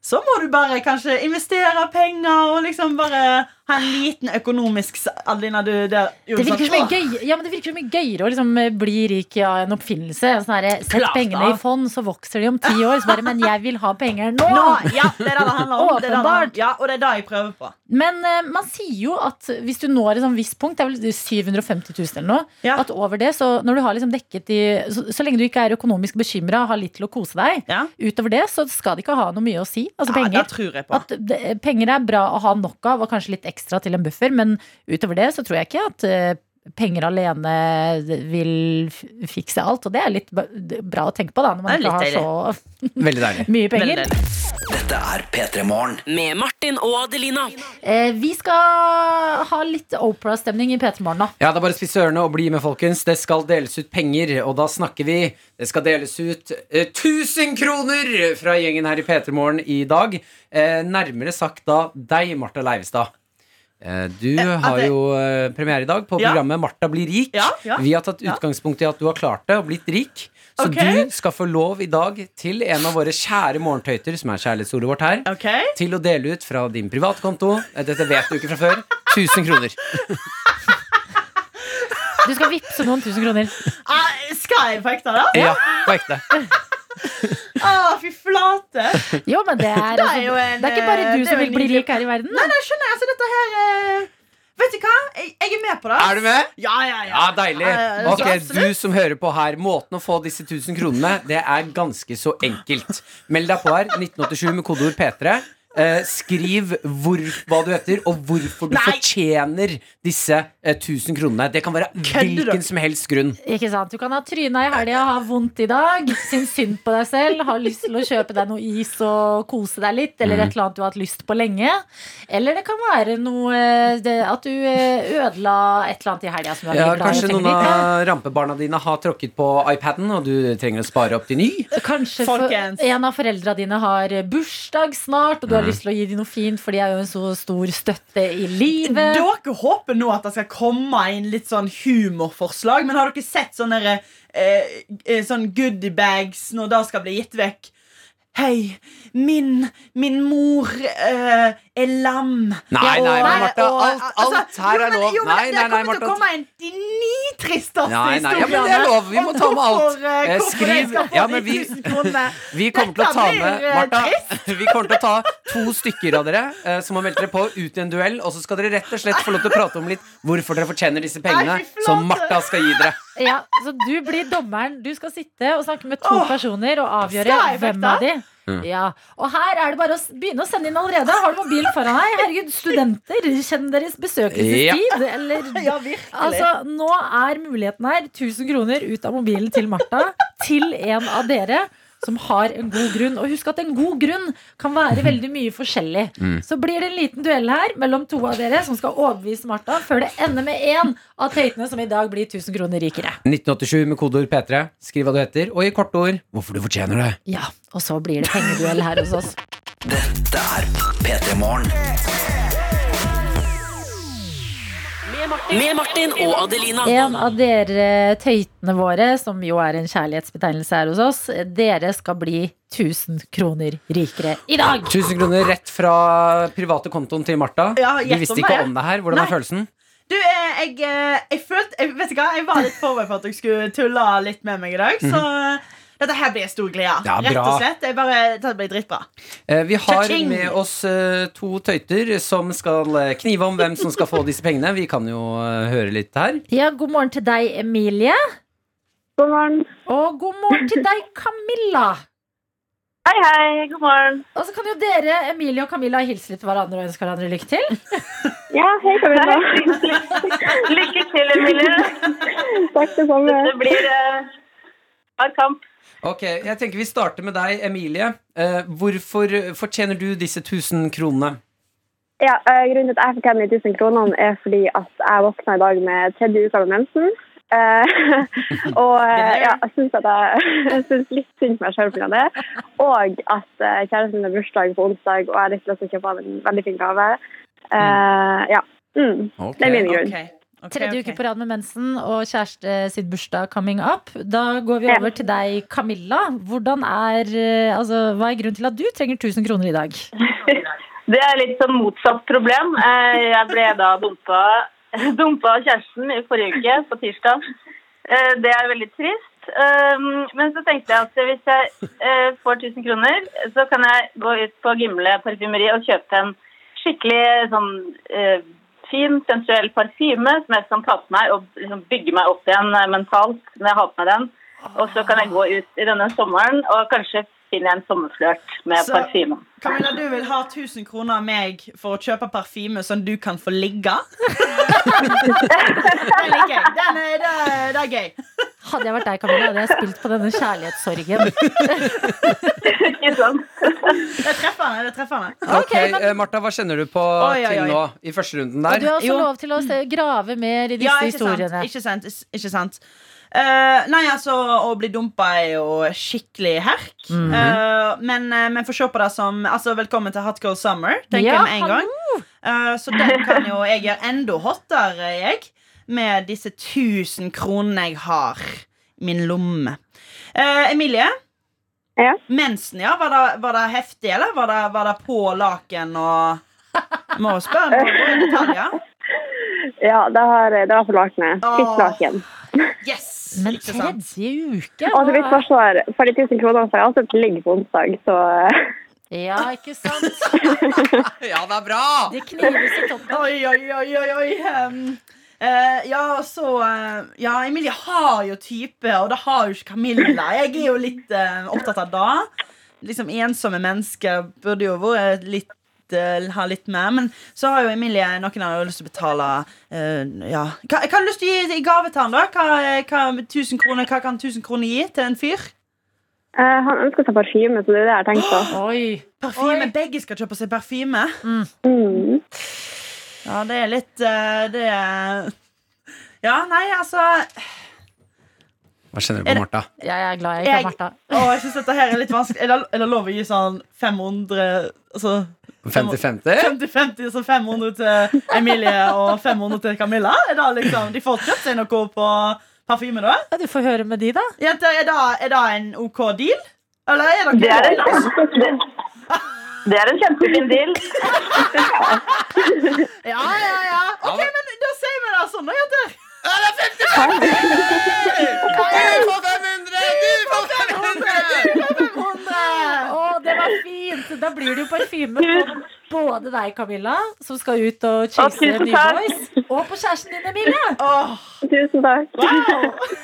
[SPEAKER 8] så må du bare kanskje investere penger og liksom bare ha en liten økonomisk s- Adelina, du der
[SPEAKER 2] Det
[SPEAKER 8] gjorde
[SPEAKER 2] virker, så mye
[SPEAKER 8] «Åh!»
[SPEAKER 2] gøy, ja, men det virker så mye gøyere å liksom eh, bli rik av en oppfinnelse. Sånn herre, Sett
[SPEAKER 8] Klart
[SPEAKER 2] pengene
[SPEAKER 8] da.
[SPEAKER 2] i fond, så vokser de om ti år. Så bare, men jeg vil ha penger nå!
[SPEAKER 8] Nå, ja, det er det det handler om. Det er det det handler
[SPEAKER 2] Åpenbart.
[SPEAKER 8] om. Ja, og det er det jeg prøver på.
[SPEAKER 2] Men eh, man sier jo at hvis du når et sånn visst punkt, det er vel 750 000 eller noe, at over det, så når du har liksom dekket de Så, så lenge du ikke er økonomisk bekymra og har litt til å kose deg, utover det så skal det ikke ha noe mye å si. Altså
[SPEAKER 8] Ja,
[SPEAKER 2] penger.
[SPEAKER 8] det tror jeg på.
[SPEAKER 2] At det, penger er bra å ha nok av, og kanskje litt ekstra til en buffer, men utover det så tror jeg ikke at eh, Penger alene vil f- fikse alt, og det er litt ba- bra å tenke på da, når man
[SPEAKER 4] Det er
[SPEAKER 2] ikke
[SPEAKER 4] litt
[SPEAKER 2] har
[SPEAKER 3] Veldig deilig.
[SPEAKER 2] så mye penger.
[SPEAKER 4] Dette er P3 Morgen. Med Martin og Adelina.
[SPEAKER 2] Eh, vi skal ha litt Opera-stemning i P3 Morgen, da.
[SPEAKER 3] Ja, det er bare å spisse ørene og bli med, folkens. Det skal deles ut penger, og da snakker vi. Det skal deles ut eh, 1000 kroner fra gjengen her i P3 Morgen i dag. Eh, nærmere sagt da deg, Marta Leivestad. Eh, du har
[SPEAKER 8] det-
[SPEAKER 3] jo eh, premiere i dag på
[SPEAKER 8] Ja.
[SPEAKER 3] programmet Marta blir rik.
[SPEAKER 8] Ja, ja,
[SPEAKER 3] Vi har tatt
[SPEAKER 8] ja.
[SPEAKER 3] utgangspunkt i at du har klart det og blitt rik. Så
[SPEAKER 8] Ok.
[SPEAKER 3] du skal få lov i dag til en av våre kjære morgentøyter, som er kjærlighetsordet vårt her,
[SPEAKER 8] Ok.
[SPEAKER 3] til å dele ut fra din privatkonto, eh, dette vet du ikke fra før, 1000 kroner.
[SPEAKER 2] Du skal vippse noen tusen kroner.
[SPEAKER 8] Ah, skal jeg på ekte, da?
[SPEAKER 3] Ja, på ekte.
[SPEAKER 8] Ah, fy flate!
[SPEAKER 2] Jo, men det er,
[SPEAKER 8] Det er
[SPEAKER 2] altså,
[SPEAKER 8] jo en,
[SPEAKER 2] det er ikke bare
[SPEAKER 8] eh,
[SPEAKER 2] du
[SPEAKER 8] det er
[SPEAKER 2] som
[SPEAKER 8] jo
[SPEAKER 2] vil bli
[SPEAKER 8] nydelig.
[SPEAKER 2] rik her i verden.
[SPEAKER 8] Nei, nei, skjønner jeg. Altså, dette her eh, Vet du hva? Jeg, jeg er med på det.
[SPEAKER 3] Er du med?
[SPEAKER 8] Ja, ja, ja.
[SPEAKER 3] Ja, deilig.
[SPEAKER 8] Ja, ja,
[SPEAKER 3] Ok,
[SPEAKER 8] absolutt.
[SPEAKER 3] Du som hører på her, måten å få disse 1000 kronene Det er ganske så enkelt. Meld deg på her. 1987 med kodeord P3. Eh, skriv hvor, hva du heter, og hvorfor du fortjener disse eh, 1000 kronene. Det kan være hvilken som helst grunn.
[SPEAKER 2] Ikke sant? Du kan ha tryna i helga, ha vondt i dag, synes synd på deg selv, har lyst til å kjøpe deg noe is og kose deg litt, eller
[SPEAKER 3] Mm.
[SPEAKER 2] et eller annet du har hatt lyst på lenge. Eller det kan være noe eh, det, at du eh, ødela et eller annet i helga som du er
[SPEAKER 3] Ja,
[SPEAKER 2] veldig glad i.
[SPEAKER 3] kanskje
[SPEAKER 2] og
[SPEAKER 3] noen
[SPEAKER 2] trenger litt.
[SPEAKER 3] av rampebarna dine har tråkket på iPaden, og du trenger å spare opp til ny.
[SPEAKER 2] Kanskje for, en av foreldra dine har bursdag
[SPEAKER 3] Mm.
[SPEAKER 2] snart, og du har lyst til å gi dem noe fint, for de er jo en så stor støtte i livet.
[SPEAKER 8] Dere håper nå at det skal komme inn litt sånn humorforslag, men har dere sett sånne der, eh, eh, sånn goodiebags når det skal bli gitt vekk? Hei, min, min mor eh, er lam. Og-
[SPEAKER 3] Nei,
[SPEAKER 8] altså,
[SPEAKER 3] nei, men Martha, alt- alt her
[SPEAKER 8] jo,
[SPEAKER 3] er
[SPEAKER 8] men-
[SPEAKER 3] lov.
[SPEAKER 8] Jo, men
[SPEAKER 3] Nei, nei,
[SPEAKER 8] det kommer
[SPEAKER 3] nei,
[SPEAKER 8] til å
[SPEAKER 3] Martha.
[SPEAKER 8] komme inn de ni tristeste
[SPEAKER 3] Nei, nei, ja, men det er
[SPEAKER 8] historiene
[SPEAKER 3] lov. Vi må
[SPEAKER 8] om
[SPEAKER 3] ta med alt.
[SPEAKER 8] Hvorfor, eh,
[SPEAKER 3] Eh,
[SPEAKER 8] hvorfor jeg
[SPEAKER 3] skriv-
[SPEAKER 8] skal få
[SPEAKER 3] ja, men
[SPEAKER 8] de
[SPEAKER 3] vi-
[SPEAKER 8] 1000 kronene.
[SPEAKER 3] Vi kommer til å
[SPEAKER 8] Dette
[SPEAKER 3] ta
[SPEAKER 8] blir,
[SPEAKER 3] med
[SPEAKER 8] eh,
[SPEAKER 3] Martha,
[SPEAKER 8] trist.
[SPEAKER 3] Vi kommer til å ta to stykker av dere eh, som har meldt dere på, ut i en duell. Og så skal dere rett og slett få lov til å prate om litt hvorfor dere fortjener disse pengene
[SPEAKER 2] Nei, fy flate.
[SPEAKER 3] som Martha skal gi dere.
[SPEAKER 2] Ja, så du blir dommeren. Du skal sitte og snakke med to
[SPEAKER 8] Åh,
[SPEAKER 2] personer og avgjøre
[SPEAKER 8] skal jeg
[SPEAKER 2] hvem
[SPEAKER 8] vekta?
[SPEAKER 2] av de.
[SPEAKER 3] Mm.
[SPEAKER 2] Ja. Og her er det bare å s- begynne å sende inn allerede. Har du mobilen foran deg? Herregud, studenter, kjenn deres besøkelsestid.
[SPEAKER 8] Ja.
[SPEAKER 2] Eller,
[SPEAKER 8] Ja, virkelig.
[SPEAKER 2] altså, nå er muligheten her. 1000 kroner ut av mobilen til Martha. Til en av dere. som har en god grunn. Og husk at en god grunn kan være veldig mye forskjellig.
[SPEAKER 13] Mm.
[SPEAKER 2] Så blir det en liten duell her mellom to av dere som skal overbevise Martha, før det ender med én av tøytene som i dag blir 1000 kroner rikere.
[SPEAKER 3] 1987 med kodeord P3. Skriv hva du heter, og i korte ord hvorfor du fortjener det.
[SPEAKER 2] Ja, og så blir det pengeduell her hos oss.
[SPEAKER 4] Dette er P3 Morgen. Med Martin og Adelina.
[SPEAKER 2] En av dere tøytene våre, som jo er en kjærlighetsbetegnelse her hos oss, dere skal bli 1000 kroner rikere i dag.
[SPEAKER 3] 1000 kroner rett fra private kontoen til Martha.
[SPEAKER 8] Ja,
[SPEAKER 3] Vi
[SPEAKER 8] gjett
[SPEAKER 3] visste
[SPEAKER 8] om
[SPEAKER 3] ikke
[SPEAKER 8] det.
[SPEAKER 3] om det her. Hvordan
[SPEAKER 8] Nei.
[SPEAKER 3] er følelsen?
[SPEAKER 8] Du, eh, jeg, eh, jeg følte jeg, Vet du hva, jeg var litt forberedt på at dere skulle tulle litt med meg i dag, så eh, dette her blir stor glede.
[SPEAKER 3] Mhm. Ja,
[SPEAKER 8] Rett
[SPEAKER 3] bra.
[SPEAKER 8] og slett. Jeg bare, dette blir dritbra.
[SPEAKER 3] Eh, Vi har
[SPEAKER 8] Cha-ching!
[SPEAKER 3] med oss eh, to tøyter som skal eh, knive om hvem som skal få disse pengene. Vi kan jo eh, høre litt her.
[SPEAKER 2] Ja, god morgen til deg, Emilie.
[SPEAKER 11] God morgen.
[SPEAKER 2] Og god morgen til deg, Camilla.
[SPEAKER 11] Hei, hei. God morgen.
[SPEAKER 2] Og så kan jo dere, Emilie og Camilla, hilse litt til hverandre og ønske hverandre lykke til.
[SPEAKER 11] Ja, hei, Camilla. Lykke til, Emilie. Takk det samme. Det blir eh, hard kamp.
[SPEAKER 3] Ok, Jeg tenker vi starter med deg, Emilie. Eh, Hvorfor fortjener du disse 1000 kronene?
[SPEAKER 14] Ja, eh, Grunnen til at jeg fortjener de 1000 kronene, er fordi at jeg våkna i dag med tredje uke med mensen. Eh, og eh, ja, jeg syns at jeg, jeg synes litt synd på meg sjøl pga. det. Og at eh, kjæresten min har bursdag på onsdag, og jeg har litt lyst til å kjøpe av en veldig fin gave. Eh, ja. Mm. Det er min grunn.
[SPEAKER 2] Tredje uke på rad med mensen og kjæreste sin bursdag coming up. Da går vi over til deg, Camilla. Hvordan er, eh, altså, hva er grunnen til at du trenger 1000 kroner i dag?
[SPEAKER 13] Det er litt sånn motsatt problem. Eh, Jeg ble da dumpa, dumpa av kjæresten i forrige uke, på tirsdag. Eh, Det er veldig trist. Um, Men så tenkte jeg at hvis jeg eh, får 1000 kroner, så kan jeg gå ut på Gimle parfymeri og kjøpe en skikkelig sånn eh, fin, sensuell parfyme som jeg kan ta på meg og liksom bygge meg opp igjen eh, mentalt når jeg har på meg den. Og så kan jeg gå ut i denne sommeren og kanskje finne en sommerflørt med
[SPEAKER 8] Så-
[SPEAKER 13] parfymen.
[SPEAKER 8] Camilla, du vil ha 1000 kroner av meg for å kjøpe parfyme som du kan få ligge? Den liker jeg. Den er, det, er- det er gøy.
[SPEAKER 2] Hadde jeg vært deg, Camilla, hadde jeg spilt på denne kjærlighetssorgen.
[SPEAKER 8] Det treffer han. Det treffer han.
[SPEAKER 3] Ok, eh, Martha, hva kjenner du på
[SPEAKER 8] Oi, oi, oi.
[SPEAKER 3] til nå i første runden
[SPEAKER 2] Og
[SPEAKER 3] der?
[SPEAKER 2] du har også
[SPEAKER 8] Jo.
[SPEAKER 2] lov til å se- grave mer i disse
[SPEAKER 8] ikke
[SPEAKER 2] historiene.
[SPEAKER 8] Sant, ikke sant. is- Ikke sant. Eh, nei, altså, å bli dumpa er jo skikkelig herk.
[SPEAKER 2] Mhm.
[SPEAKER 8] Eh, men eh, men få se på det som altså, Velkommen til Hot Girl Summer, tenker
[SPEAKER 2] Ja,
[SPEAKER 8] jeg med en gang. Eh, så den kan jo jeg gjøre enda hottere, jeg, med disse 1000 kronene jeg har i min lomme. Eh, Emilie? Mensen, ja. Var det, var det heftig, eller? Var det, var det på laken og Må jo spørre om det i detaljer.
[SPEAKER 14] Ja, det, har, det var på lakenet. Fitt laken.
[SPEAKER 2] Men tredje uke?
[SPEAKER 14] Og til
[SPEAKER 2] hva
[SPEAKER 14] mitt
[SPEAKER 2] er-
[SPEAKER 14] forsvar, for de 1000 kronene får jeg alltid et ligg på onsdag, så eh,
[SPEAKER 2] Ja, ikke sant?
[SPEAKER 3] ja, det er bra!
[SPEAKER 2] Det knives i toppen.
[SPEAKER 8] Oi, oi, oi, oi, oi. Um, eh, ja, og så eh, Ja, Emilie har jo type, og det har jo ikke Camilla. Jeg er jo litt eh, opptatt av det. Liksom Ensomme mennesker burde jo vært litt eh, ha litt mer, men så har jo Emilie Noen har jo lyst til å betale eh, Ja, hva, hva har du lyst til å gi i gave til han da? Hva, eh, hva, 1000 kroner, hva kan 1000 kroner gi til en fyr?
[SPEAKER 14] Eh, Han ønsker seg parfyme, så det er det jeg har tenkt på.
[SPEAKER 2] Oi.
[SPEAKER 8] Parfyme, Begge skal kjøpe seg parfyme.
[SPEAKER 14] Mm.
[SPEAKER 8] Ja, det er litt eh, Det er Ja, nei, altså
[SPEAKER 3] Hva kjenner du på, Martha?
[SPEAKER 2] Jeg er glad jeg
[SPEAKER 8] Jeg-
[SPEAKER 2] ikke har vært da.
[SPEAKER 8] Å, jeg synes dette her er litt vanskelig. Er det, er det lov å gi sånn 500 altså,
[SPEAKER 3] 50-50?
[SPEAKER 8] 50-50, altså 500 til Emilie og 500 til Camilla? Er det liksom, de får kjøpt seg noe på parfyme, da?
[SPEAKER 2] Ja, du får høre med de, da.
[SPEAKER 8] Jenter, er det, er det en OK deal? Eller er
[SPEAKER 13] Det
[SPEAKER 8] det
[SPEAKER 13] er en, det, det er en kjempefin deal.
[SPEAKER 8] Ja, ja, ja. OK, men da sier vi det sånn, da, jenter. Ja, det er 50
[SPEAKER 3] Du får 500! Du får
[SPEAKER 8] 500! Du får 500!
[SPEAKER 2] Å, det var fint! Da blir det jo parfyme på både deg, Camilla, som skal ut og
[SPEAKER 14] Å,
[SPEAKER 2] chase
[SPEAKER 14] tusen
[SPEAKER 2] nye
[SPEAKER 14] takk.
[SPEAKER 2] boys, og på kjæresten din, Emilie.
[SPEAKER 14] Tusen takk.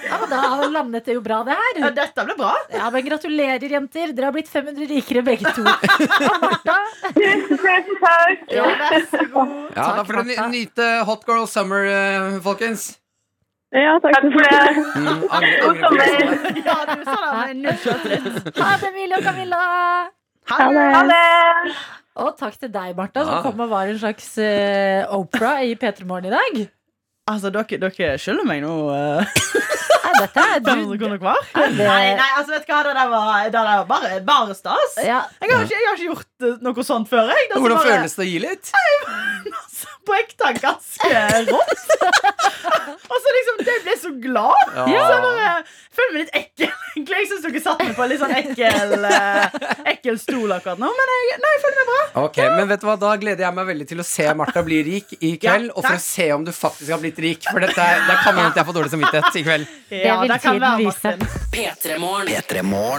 [SPEAKER 2] Ja, men Da landet det jo bra, det her.
[SPEAKER 8] Ja, dette ble bra.
[SPEAKER 2] Ja, men Gratulerer, jenter. Dere har blitt 500 rikere begge to.
[SPEAKER 13] Tusen takk.
[SPEAKER 8] Ja, vær så god.
[SPEAKER 3] Ja, da får dere ny- nyte Hot Girl Summer, eh, folkens.
[SPEAKER 14] Ja, takk,
[SPEAKER 13] Takk for det.
[SPEAKER 8] Mm.
[SPEAKER 2] Mm,
[SPEAKER 13] God sommer.
[SPEAKER 8] Ja, du sa det med null sjøltillit.
[SPEAKER 2] Ha det, Emilie og Camilla!
[SPEAKER 8] Ha det. Ha
[SPEAKER 2] Og takk til deg, Martha, som
[SPEAKER 8] Ja.
[SPEAKER 2] kom og var en slags eh, Oprah i P3 Morgen i dag.
[SPEAKER 8] Altså, dere, dere skylder meg nå eh,
[SPEAKER 2] Nei, dette er du
[SPEAKER 8] 500 kroner hver.
[SPEAKER 2] Er det-
[SPEAKER 8] Nei, nei, altså, vet du hva? Det der var, det der var bare, bare stas.
[SPEAKER 2] Ja.
[SPEAKER 8] Jeg, har ikke, jeg har ikke gjort eh, noe sånt før. Jeg. Det er så
[SPEAKER 3] Hvordan
[SPEAKER 8] bare-
[SPEAKER 3] føles det å gi litt?
[SPEAKER 8] Altså, på ekte ganske rått. Og så liksom, jeg ble så glad.
[SPEAKER 3] Ja.
[SPEAKER 8] Så jeg bare jeg føler meg litt ekkel. egentlig. Jeg syns dere satte meg på en litt sånn ekkel, eh, ekkel stol akkurat nå, men jeg, nei, jeg føler meg bra.
[SPEAKER 3] Ok, men vet du hva, Da gleder jeg meg veldig til å se Martha bli rik i kveld. og for å se om du faktisk har blitt rik. For dette er- det kan hende at jeg får dårlig samvittighet i kveld.
[SPEAKER 8] Ja, det kan være
[SPEAKER 4] P3morgen.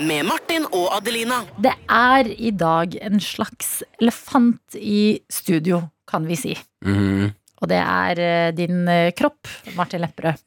[SPEAKER 4] Med Martin og Adelina.
[SPEAKER 2] Det er i dag en slags elefant i studio, kan vi si.
[SPEAKER 3] Mhm.
[SPEAKER 2] Og det er eh, din eh, kropp, Martin Lepperød.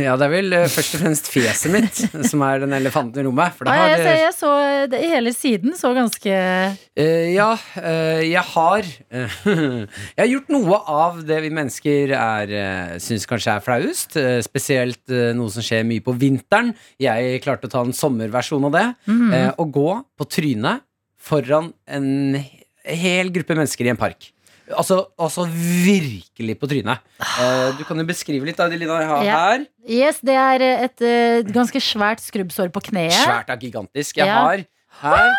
[SPEAKER 3] Ja, det er vel eh, først og fremst fjeset mitt som er den elefanten i rommet. For det
[SPEAKER 2] Og
[SPEAKER 3] har,
[SPEAKER 2] jeg, så, jeg så eh, det, hele siden så ganske
[SPEAKER 3] Eh, ja, eh, jeg har eh, Jeg har gjort noe av det vi mennesker er, uh, syns kanskje er flaust. eh, spesielt eh, noe som skjer mye på vinteren. Jeg klarte å ta en sommerversjon av det.
[SPEAKER 6] Mhm.
[SPEAKER 3] eh, og gå på trynet foran en he- hel gruppe mennesker i en park. Altså, altså virkelig på trynet. Eh, du kan jo beskrive litt, Adelina. Jeg har
[SPEAKER 2] Ja.
[SPEAKER 3] her.
[SPEAKER 2] Yes, det er eh, et eh, ganske svært skrubbsår på kneet.
[SPEAKER 3] Svært og gigantisk. Jeg
[SPEAKER 2] Ja.
[SPEAKER 3] har her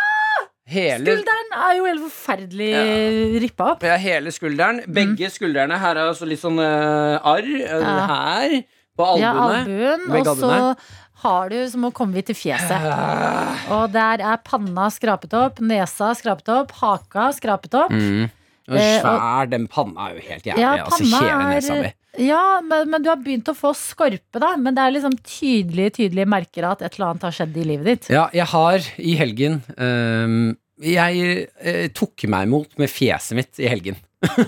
[SPEAKER 3] hele
[SPEAKER 2] Skulderen er jo helt forferdelig rippa opp.
[SPEAKER 3] Ja, hele skulderen.
[SPEAKER 2] Mm.
[SPEAKER 3] Begge skuldrene. Her er også litt sånn eh, arr. eh,
[SPEAKER 2] Ja.
[SPEAKER 3] Her. På albuene.
[SPEAKER 2] Ja, albuen.
[SPEAKER 3] Begge
[SPEAKER 2] Og så
[SPEAKER 3] albuene.
[SPEAKER 2] har du, så må komme vi til fjeset. Og der er panna skrapet opp, nesa skrapet opp, haka skrapet opp.
[SPEAKER 3] Mm. Og
[SPEAKER 2] Eh,
[SPEAKER 3] svær, den panna er jo helt jævlig.
[SPEAKER 2] Ja,
[SPEAKER 3] altså, hele
[SPEAKER 2] panna
[SPEAKER 3] nesa mi.
[SPEAKER 2] er Ja, men, men du har begynt å få skorpe, da. Men det er liksom tydelige, tydelige merker av at et eller annet har skjedd i livet ditt.
[SPEAKER 3] Ja, jeg har i helgen ehm, Jeg eh, tok meg imot med fjeset mitt i helgen.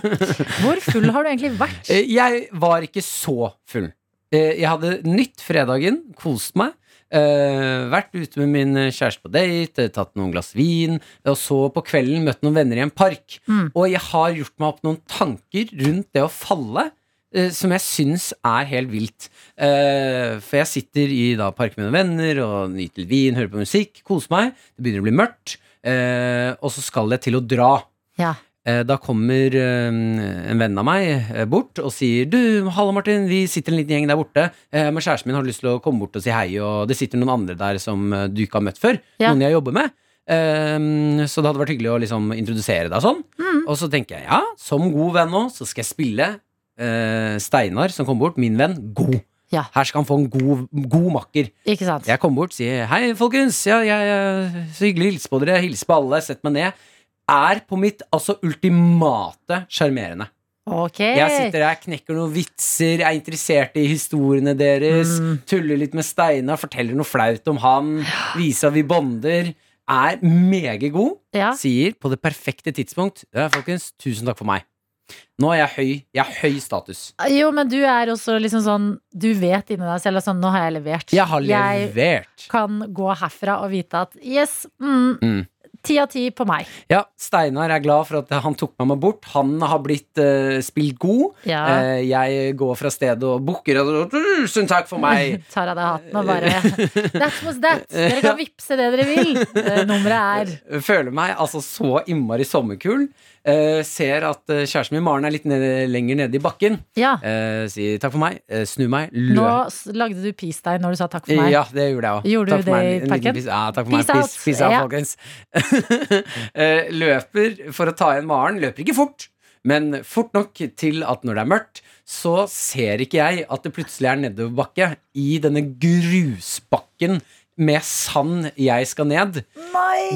[SPEAKER 2] Hvor full har du egentlig vært?
[SPEAKER 3] Eh, Jeg var ikke så full. Eh, Jeg hadde nytt fredagen, kost meg. eh, vært ute med min kjæreste på date, eh, tatt noen glass vin. Og så på kvelden møtt noen venner i en park. Og jeg har gjort meg opp noen tanker rundt det å falle. eh, Som jeg syns er helt vilt. Eh, For jeg sitter i da park med noen venner og nyter litt vin, hører på musikk, koser meg. Det begynner å bli mørkt, eh, og så skal jeg til å dra.
[SPEAKER 2] Ja.
[SPEAKER 3] Eh, Da kommer eh, en venn av meg eh, bort og sier Du, hallo Martin, vi sitter en liten gjeng der borte eh, Men kjæresten min har lyst til å komme bort og si hei Og det sitter noen andre der som eh, du ikke har møtt før
[SPEAKER 6] Ja.
[SPEAKER 3] Noen jeg jobber med Eh, Så det hadde vært hyggelig å liksom introdusere deg og sånn
[SPEAKER 6] Mm.
[SPEAKER 3] Og så tenker jeg, ja, som god venn nå Så skal jeg spille eh, Steinar som kommer bort, min venn, god Her skal han få en god, god makker
[SPEAKER 2] Ikke sant?
[SPEAKER 3] Jeg kommer bort og sier Hei folkens, ja, jeg, eh, så hyggelig å hilse på dere Hilse på alle, sett meg ned Er på mitt altså ultimate sjarmerende.
[SPEAKER 2] Ok.
[SPEAKER 3] Jeg sitter her, knekker noen vitser, er interessert i historiene deres, tuller litt med Steinar, forteller noe flaut om han, viser at vi bonder. Er megagod.
[SPEAKER 2] Ja.
[SPEAKER 3] Sier på det perfekte tidspunkt ja, Folkens, tusen takk for meg. Nå er jeg høy. Jeg har høy status.
[SPEAKER 2] Jo, men du er også liksom sånn Du vet inni deg selv at sånn, nå har jeg levert.
[SPEAKER 3] Jeg har levert.
[SPEAKER 2] Jeg kan gå herfra og vite at yes, mm,
[SPEAKER 3] Mm.
[SPEAKER 2] ti av ti på meg.
[SPEAKER 3] Ja, Steinar er glad for at han tok meg med bort. Han har blitt eh, spilt god.
[SPEAKER 2] Ja.
[SPEAKER 3] Eh, jeg går fra stedet og bukker og Tusen takk for meg!
[SPEAKER 2] Tar av deg hatten og bare That was that. Dere kan vippse det dere vil. Eh, Nummeret er
[SPEAKER 3] Føler meg altså så innmari sommerkul. Eh, ser at eh, kjæresten min Maren er litt nede, lenger nede i bakken.
[SPEAKER 2] Ja.
[SPEAKER 3] Eh, sier takk for meg, eh, snu meg,
[SPEAKER 2] Nå
[SPEAKER 3] løp.
[SPEAKER 2] s- lagde du peace deg når du sa takk for meg.
[SPEAKER 3] Ja, det gjorde jeg òg.
[SPEAKER 2] Gjorde
[SPEAKER 3] Takk
[SPEAKER 2] du
[SPEAKER 3] for meg.
[SPEAKER 2] det i
[SPEAKER 3] En liten
[SPEAKER 2] parken?
[SPEAKER 3] piss- Ja, takk for
[SPEAKER 2] Peace
[SPEAKER 3] meg. Peace,
[SPEAKER 2] out.
[SPEAKER 3] peace out,
[SPEAKER 2] Ja.
[SPEAKER 3] folkens. Eh, løper for å ta igjen Maren. Løper ikke fort, men fort nok til at når det er mørkt, så ser ikke jeg at det plutselig er nedoverbakke i denne grusbakken med sand jeg skal ned.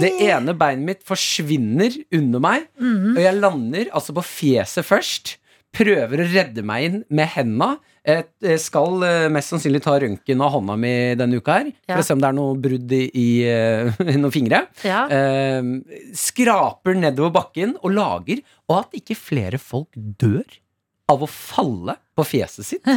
[SPEAKER 3] Det ene beinet mitt forsvinner under meg,
[SPEAKER 2] Mhm.
[SPEAKER 3] og jeg lander altså på fjeset først. Prøver å redde meg inn med henda. Et, eh, skal eh, mest sannsynlig ta røntgen av hånda mi denne uka her.
[SPEAKER 6] Ja.
[SPEAKER 3] For å se om det er noe brudd i, i eh, noen fingre.
[SPEAKER 6] Ja.
[SPEAKER 3] Eh, skraper nedover bakken og lager, og at ikke flere folk dør av å falle på fjeset sitt.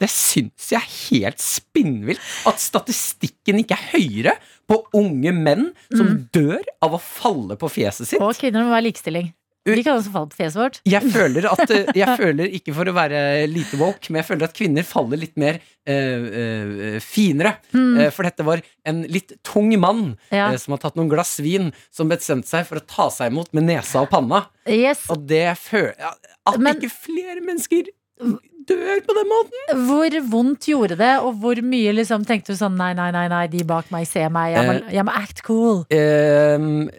[SPEAKER 3] Det syns jeg er helt spinnvilt. At statistikken ikke er høyere på unge menn som dør av å falle på fjeset sitt.
[SPEAKER 2] Og kvinner må være likestilling. Vi kan også falle på fjeset vårt.
[SPEAKER 3] Jeg føler at eh, Jeg føler ikke for å være lite woke, men jeg føler at kvinner faller litt mer eh, eh, finere.
[SPEAKER 2] Mm.
[SPEAKER 3] Eh, for dette var en litt tung mann
[SPEAKER 2] Ja.
[SPEAKER 3] eh, som har tatt noen glass vin, som bestemte seg for å ta seg imot med nesa og panna.
[SPEAKER 2] Yes.
[SPEAKER 3] Og det føler ja, At ikke flere mennesker dør på den måten!
[SPEAKER 2] Hvor vondt gjorde det, og hvor mye liksom tenkte du sånn nei, nei, nei, nei de bak meg ser meg, jeg må,
[SPEAKER 3] Eh.
[SPEAKER 2] jeg må act cool.
[SPEAKER 3] Ehm,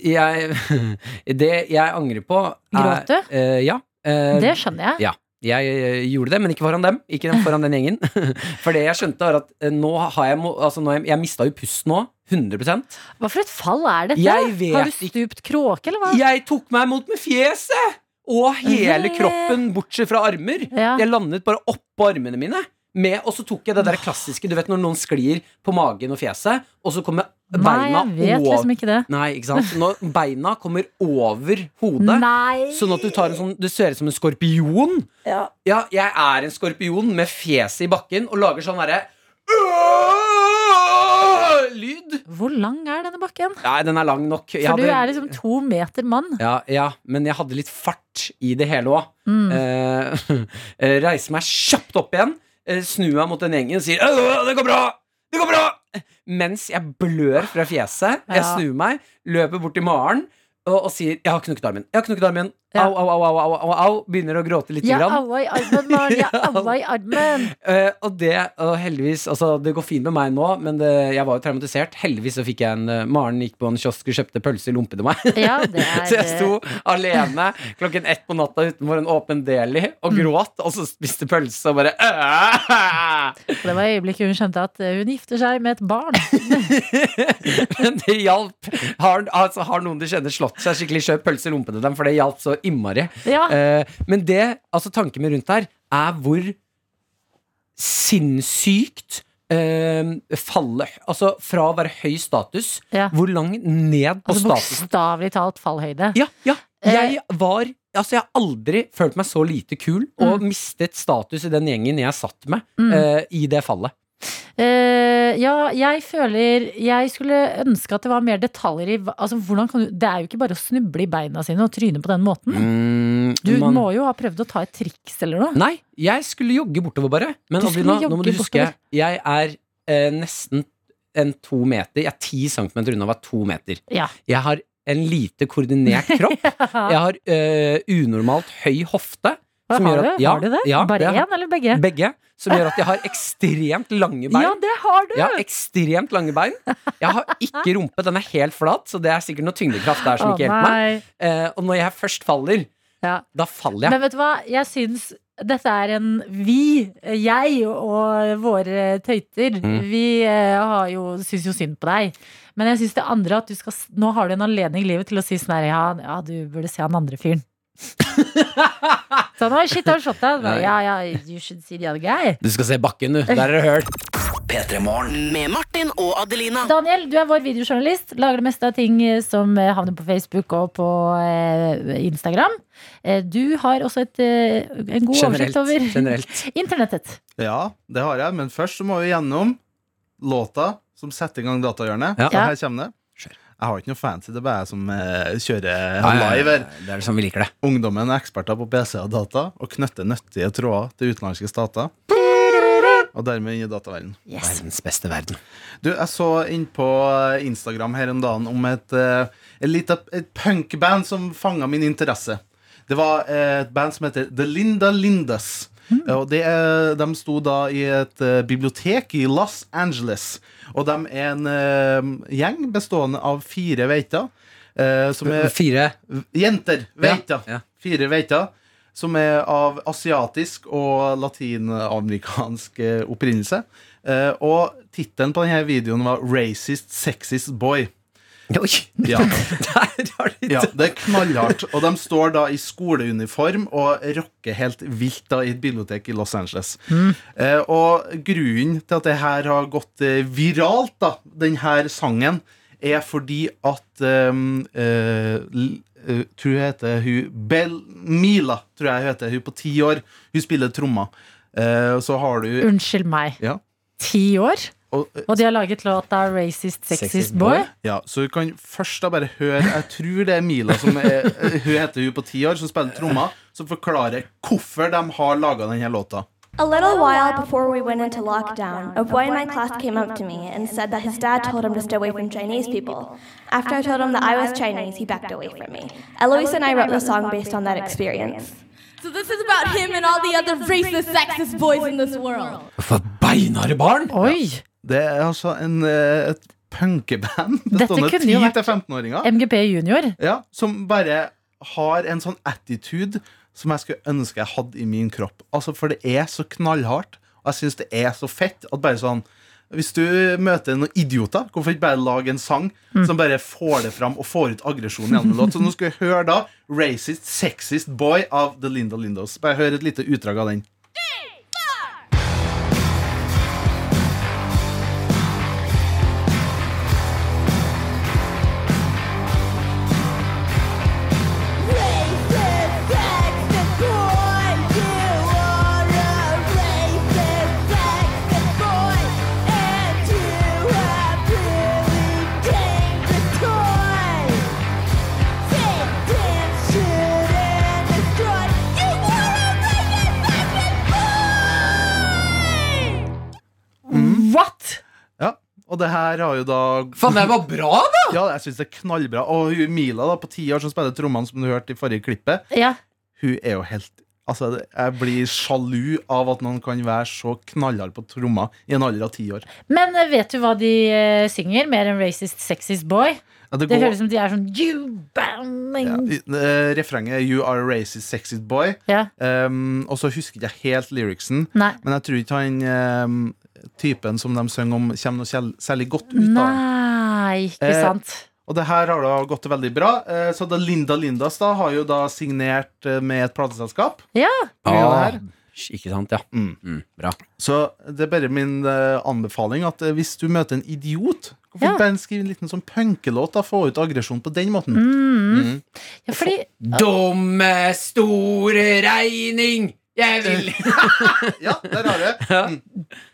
[SPEAKER 3] jeg Det jeg angrer på er-
[SPEAKER 2] Gråt du?
[SPEAKER 3] Eh, ja. Eh,
[SPEAKER 2] Det skjønner jeg.
[SPEAKER 3] Ja. Jeg eh, gjorde det, men ikke foran dem. Ikke den- foran den gjengen. For det jeg skjønte, var at eh, nå har jeg, må- altså, nå har jeg, jeg mista jo pusten nå. 100
[SPEAKER 2] Hva for et fall er dette?
[SPEAKER 3] Jeg vet
[SPEAKER 2] Har du stupt kråke, eller hva?
[SPEAKER 3] Jeg tok meg imot med fjeset! Og hele kroppen, bortsett fra armer. Jeg landet bare oppå armene mine. Med, og så tok jeg det der klassiske du vet når noen sklir på magen og fjeset, og så kommer beina
[SPEAKER 2] Nei, jeg vet
[SPEAKER 3] over-
[SPEAKER 2] liksom ikke det.
[SPEAKER 3] Nei, ikke sant? Når beina kommer over hodet,
[SPEAKER 2] Nei.
[SPEAKER 3] sånn at du tar en sånn Du ser ut som en skorpion.
[SPEAKER 2] Ja.
[SPEAKER 3] Ja, jeg er en skorpion med fjeset i bakken og lager sånn derre Lyd.
[SPEAKER 2] Hvor lang er denne bakken?
[SPEAKER 3] Nei, den er lang nok. Jeg
[SPEAKER 2] For du
[SPEAKER 3] hadde-
[SPEAKER 2] er liksom to meter mann.
[SPEAKER 3] ja, ja, men jeg hadde litt fart i det hele òg.
[SPEAKER 2] Mm.
[SPEAKER 3] reise Eh, meg kjapt opp igjen, eh, snu meg mot den gjengen og sier «Øh, 'Det går bra! Det går bra!' Mens jeg blør fra fjeset. Jeg
[SPEAKER 5] Ja.
[SPEAKER 3] snur meg, løper bort til Maren og, og sier 'Jeg har knukket armen'. Jeg har knukket armen Au, au, au, au, au, au, au. Begynner å gråte lite
[SPEAKER 2] Jeg
[SPEAKER 3] grann.
[SPEAKER 2] aua i armen, Maren. Jeg aua i armen.
[SPEAKER 3] Eh, og det, og heldigvis, altså det går fint med meg nå, men det, jeg var jo traumatisert. Heldigvis så fikk jeg en eh, Maren gikk på en kiosk og kjøpte pølse i lompe til meg.
[SPEAKER 2] Ja, det er-
[SPEAKER 3] så jeg sto alene klokken ett på natta utenfor en åpen deli og gråt, og så spiste pølse og bare «Æ!»
[SPEAKER 2] Og eh, det var øyeblikket hun skjønte at eh, hun gifter seg med et barn.
[SPEAKER 3] Men det hjalp. Har, altså, har noen du kjenner slått seg skikkelig, kjøp pølse i lompe til dem, for det hjalp så innmari.
[SPEAKER 2] Ja.
[SPEAKER 3] Eh, men det, altså tanken min rundt her, er hvor sinnssykt eh, fallet Altså fra å være høy status, hvor langt ned på
[SPEAKER 2] Altså
[SPEAKER 3] statusen
[SPEAKER 2] bokstavelig talt fallhøyde.
[SPEAKER 3] Ja, ja.
[SPEAKER 2] Eh.
[SPEAKER 3] Jeg var Altså, jeg har aldri følt meg så lite kul og mistet status i den gjengen jeg satt med
[SPEAKER 2] Mm.
[SPEAKER 3] eh, i det fallet.
[SPEAKER 2] Eh, ja, jeg føler Jeg skulle ønske at det var mer detaljer i hva- altså, hvordan kan du, Det er jo ikke bare å snuble i beina sine og tryne på den måten. Du
[SPEAKER 3] Mm. man-
[SPEAKER 2] må jo ha prøvd å ta et triks eller noe.
[SPEAKER 3] Nei, jeg skulle jogge bortover bare. Men
[SPEAKER 2] Du
[SPEAKER 3] Adelina,
[SPEAKER 2] skulle
[SPEAKER 3] nå må du
[SPEAKER 2] jogge
[SPEAKER 3] huske,
[SPEAKER 2] bortover.
[SPEAKER 3] jeg er eh, nesten en to meter. Jeg er ti centimeter unna å være to meter.
[SPEAKER 2] Ja.
[SPEAKER 3] Jeg har en lite koordinert kropp. Jeg har eh, unormalt høy hofte.
[SPEAKER 2] Hva
[SPEAKER 3] som
[SPEAKER 2] har
[SPEAKER 3] gjør at-
[SPEAKER 2] du? Har du det? Bare
[SPEAKER 3] jeg har-
[SPEAKER 2] én eller begge?
[SPEAKER 3] Begge. Som gjør at jeg har ekstremt lange bein.
[SPEAKER 2] Ja, det har du!
[SPEAKER 3] Jeg har ekstremt lange bein. Jeg har ikke rumpe, den er helt flat, så det er sikkert noe tyngdekraft der som
[SPEAKER 2] Å,
[SPEAKER 3] ikke hjelper
[SPEAKER 2] nei.
[SPEAKER 3] meg. Eh, og når jeg først faller,
[SPEAKER 2] Ja.
[SPEAKER 3] da faller jeg.
[SPEAKER 2] Men vet du hva, jeg syns dette er en vi, jeg og våre tøyter.
[SPEAKER 3] Mm.
[SPEAKER 2] Vi eh, har jo, syns jo synd på deg. Men jeg syns det andre at du skal s- Nå har du en anledning i livet til å si sånn her ja, ja, du burde se han andre fyren. sånn, «Oi, shit, har du slått deg? Bare, Ja, ja, you should see the other guy.
[SPEAKER 3] Du skal se bakken, du. Der er det hørt.
[SPEAKER 4] P3 Morgen med Martin og Adelina.
[SPEAKER 2] Daniel, du er vår videojournalist. Lager det meste av ting eh, som eh, havner på Facebook og på eh, Instagram. Eh, Du har også et, eh, en god
[SPEAKER 12] Generelt,
[SPEAKER 2] oversikt over
[SPEAKER 12] generelt.
[SPEAKER 2] internettet.
[SPEAKER 12] Ja, det har jeg, men først så må vi gjennom låta som setter i gang datahjørnet.
[SPEAKER 3] Ja.
[SPEAKER 12] Og her kommer det. Jeg har ikke noe fancy, det er bare jeg som eh, kjører
[SPEAKER 3] Nei, nei,
[SPEAKER 12] live her.
[SPEAKER 3] nei, det er sånn vi liker det.
[SPEAKER 12] Ungdommen er eksperter på PC og data og knytter nyttige tråder til utenlandske stater. Og dermed inn i dataverdenen.
[SPEAKER 3] Verdens beste verden.
[SPEAKER 12] Du, jeg så inn på eh, Instagram her om dagen om et, eh, et lite et punkband som fanga min interesse. Det var eh, et band som heter The Linda Lindas.
[SPEAKER 3] Hmm.
[SPEAKER 12] Og det er, de sto da i et eh, bibliotek i Los Angeles. Og de er en eh, gjeng bestående av fire veiter. eh, som er
[SPEAKER 3] Fire?
[SPEAKER 12] Jenter. Veiter.
[SPEAKER 3] Ja, ja.
[SPEAKER 12] Fire veiter. Som er av asiatisk og latinamerikansk eh, opprinnelse. Eh, og tittelen på denne videoen var 'Racist Sexist Boy'.
[SPEAKER 3] Oi!
[SPEAKER 12] Ja. ja, det er knallhardt. Og de står da i skoleuniform og rocker helt vilt da i et bibliotek i Los Angeles. Eh, og grunnen til at det her har gått eh, viralt, da, den her sangen, er fordi at um, eh, l- eh, Tror jeg heter hun Bell Mila, tror jeg hun heter. Hun på ti år. Hun spiller trommer. Eh, og så har du
[SPEAKER 2] Unnskyld meg.
[SPEAKER 12] Ja.
[SPEAKER 2] Ti år?
[SPEAKER 12] Og, eh,
[SPEAKER 2] Og de har laget låta 'Racist Sexist Boy'.
[SPEAKER 12] Ja, så du kan først da bare høre Jeg tror det er Mila som er, Hun heter hun på ti år, som spiller trommer, som forklarer hvorfor de har laga denne låta.
[SPEAKER 6] A little while before we went into lockdown, a boy in my class came up to me and said that his dad told him to stay away from Chinese people. After I told him that I was Chinese, he backed away from me. Eloise and I wrote the song based on that experience.
[SPEAKER 15] So this is about him and all the other racist, sexist boys in this world.
[SPEAKER 3] Beinharde barn!
[SPEAKER 2] Oi!
[SPEAKER 12] Det er altså en, eh, et punkeband
[SPEAKER 2] Dette
[SPEAKER 12] bestående
[SPEAKER 2] kunne jo
[SPEAKER 12] 10
[SPEAKER 2] vært
[SPEAKER 12] til 15-åringer
[SPEAKER 2] MGP Junior.
[SPEAKER 12] ja, som bare har en sånn attitude som jeg skulle ønske jeg hadde i min kropp. Altså, For det er så knallhardt, og jeg syns det er så fett at bare sånn hvis du møter noen idioter, hvorfor ikke bare lage en sang som bare får det fram og får ut aggresjonen gjennom en låt? Så nå skal vi høre da 'Racist Sexist Boy' av The Linda Lindos. Bare hør et lite utdrag av den.
[SPEAKER 2] What?!
[SPEAKER 12] Ja, og det her har jo da
[SPEAKER 3] Faen, det var bra, da!
[SPEAKER 12] Ja, jeg synes det er knallbra. Og hun Mila da, på ti år som spiller trommene, som du hørte i forrige klippet,
[SPEAKER 2] Ja.
[SPEAKER 12] hun er jo helt Altså, Jeg blir sjalu av at noen kan være så knallhard på trommer i en alder av ti år.
[SPEAKER 2] Men eh, vet du hva de eh, synger? Mer enn 'Racist Sexist Boy'?
[SPEAKER 12] Ja,
[SPEAKER 2] det,
[SPEAKER 12] det går-
[SPEAKER 2] høres ut som de er sånn You bang!
[SPEAKER 12] Eh, Refrenget er 'You are a racist sexist boy'.
[SPEAKER 2] Ja.
[SPEAKER 12] Um, og så husker jeg ikke helt lyricsen,
[SPEAKER 2] Nei.
[SPEAKER 12] men jeg tror ikke han um, typen som de synger om, kommer noe selv- særlig godt ut av.
[SPEAKER 2] Nei, Ah, ikke
[SPEAKER 12] Eh,
[SPEAKER 2] sant.
[SPEAKER 12] Og det her har da gått veldig bra. Eh, Så da Linda Lindas da har jo da signert eh, med et plateselskap.
[SPEAKER 2] Ja.
[SPEAKER 12] På grunn av det her.
[SPEAKER 3] Ikke sant, ja. Mm, bra.
[SPEAKER 12] Så det er bare min eh, anbefaling at eh, hvis du møter en idiot, hvorfor
[SPEAKER 2] Ja.
[SPEAKER 12] ikke bare skrive en liten sånn punkelåt og få ut aggresjon på den måten? Mm.
[SPEAKER 2] Ja, fordi
[SPEAKER 3] Dumme store regning! Jeg vil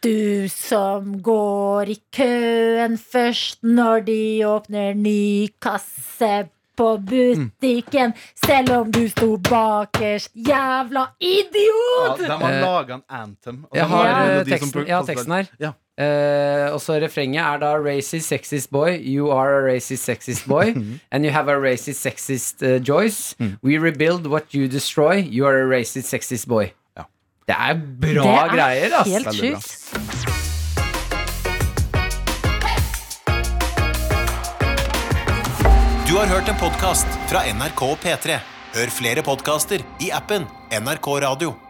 [SPEAKER 2] Du som går i køen først når de åpner ny kasse på
[SPEAKER 12] Mm.
[SPEAKER 2] butikken, selv om du sto bakerst. Jævla
[SPEAKER 12] Ja,
[SPEAKER 2] idiot!
[SPEAKER 12] de har laga en anthem. og de
[SPEAKER 3] Jeg har
[SPEAKER 12] en
[SPEAKER 3] eh,
[SPEAKER 12] melodi som
[SPEAKER 3] teksten, jeg har
[SPEAKER 12] passer-
[SPEAKER 3] teksten her.
[SPEAKER 12] Ja.
[SPEAKER 3] Eh, og så refrenget er da Racist sexist boy, you are a racist sexist boy
[SPEAKER 12] Mhm.
[SPEAKER 3] And you have a racist sexist eh, joys
[SPEAKER 12] Mm.
[SPEAKER 3] We rebuild what you destroy You are a racist sexist boy Det er bra
[SPEAKER 2] Det er
[SPEAKER 3] greier ass.
[SPEAKER 2] helt Veldig bra. sjukt.
[SPEAKER 1] Du har hørt en podcast fra NRK P3. Hør flere podcaster i appen NRK Radio.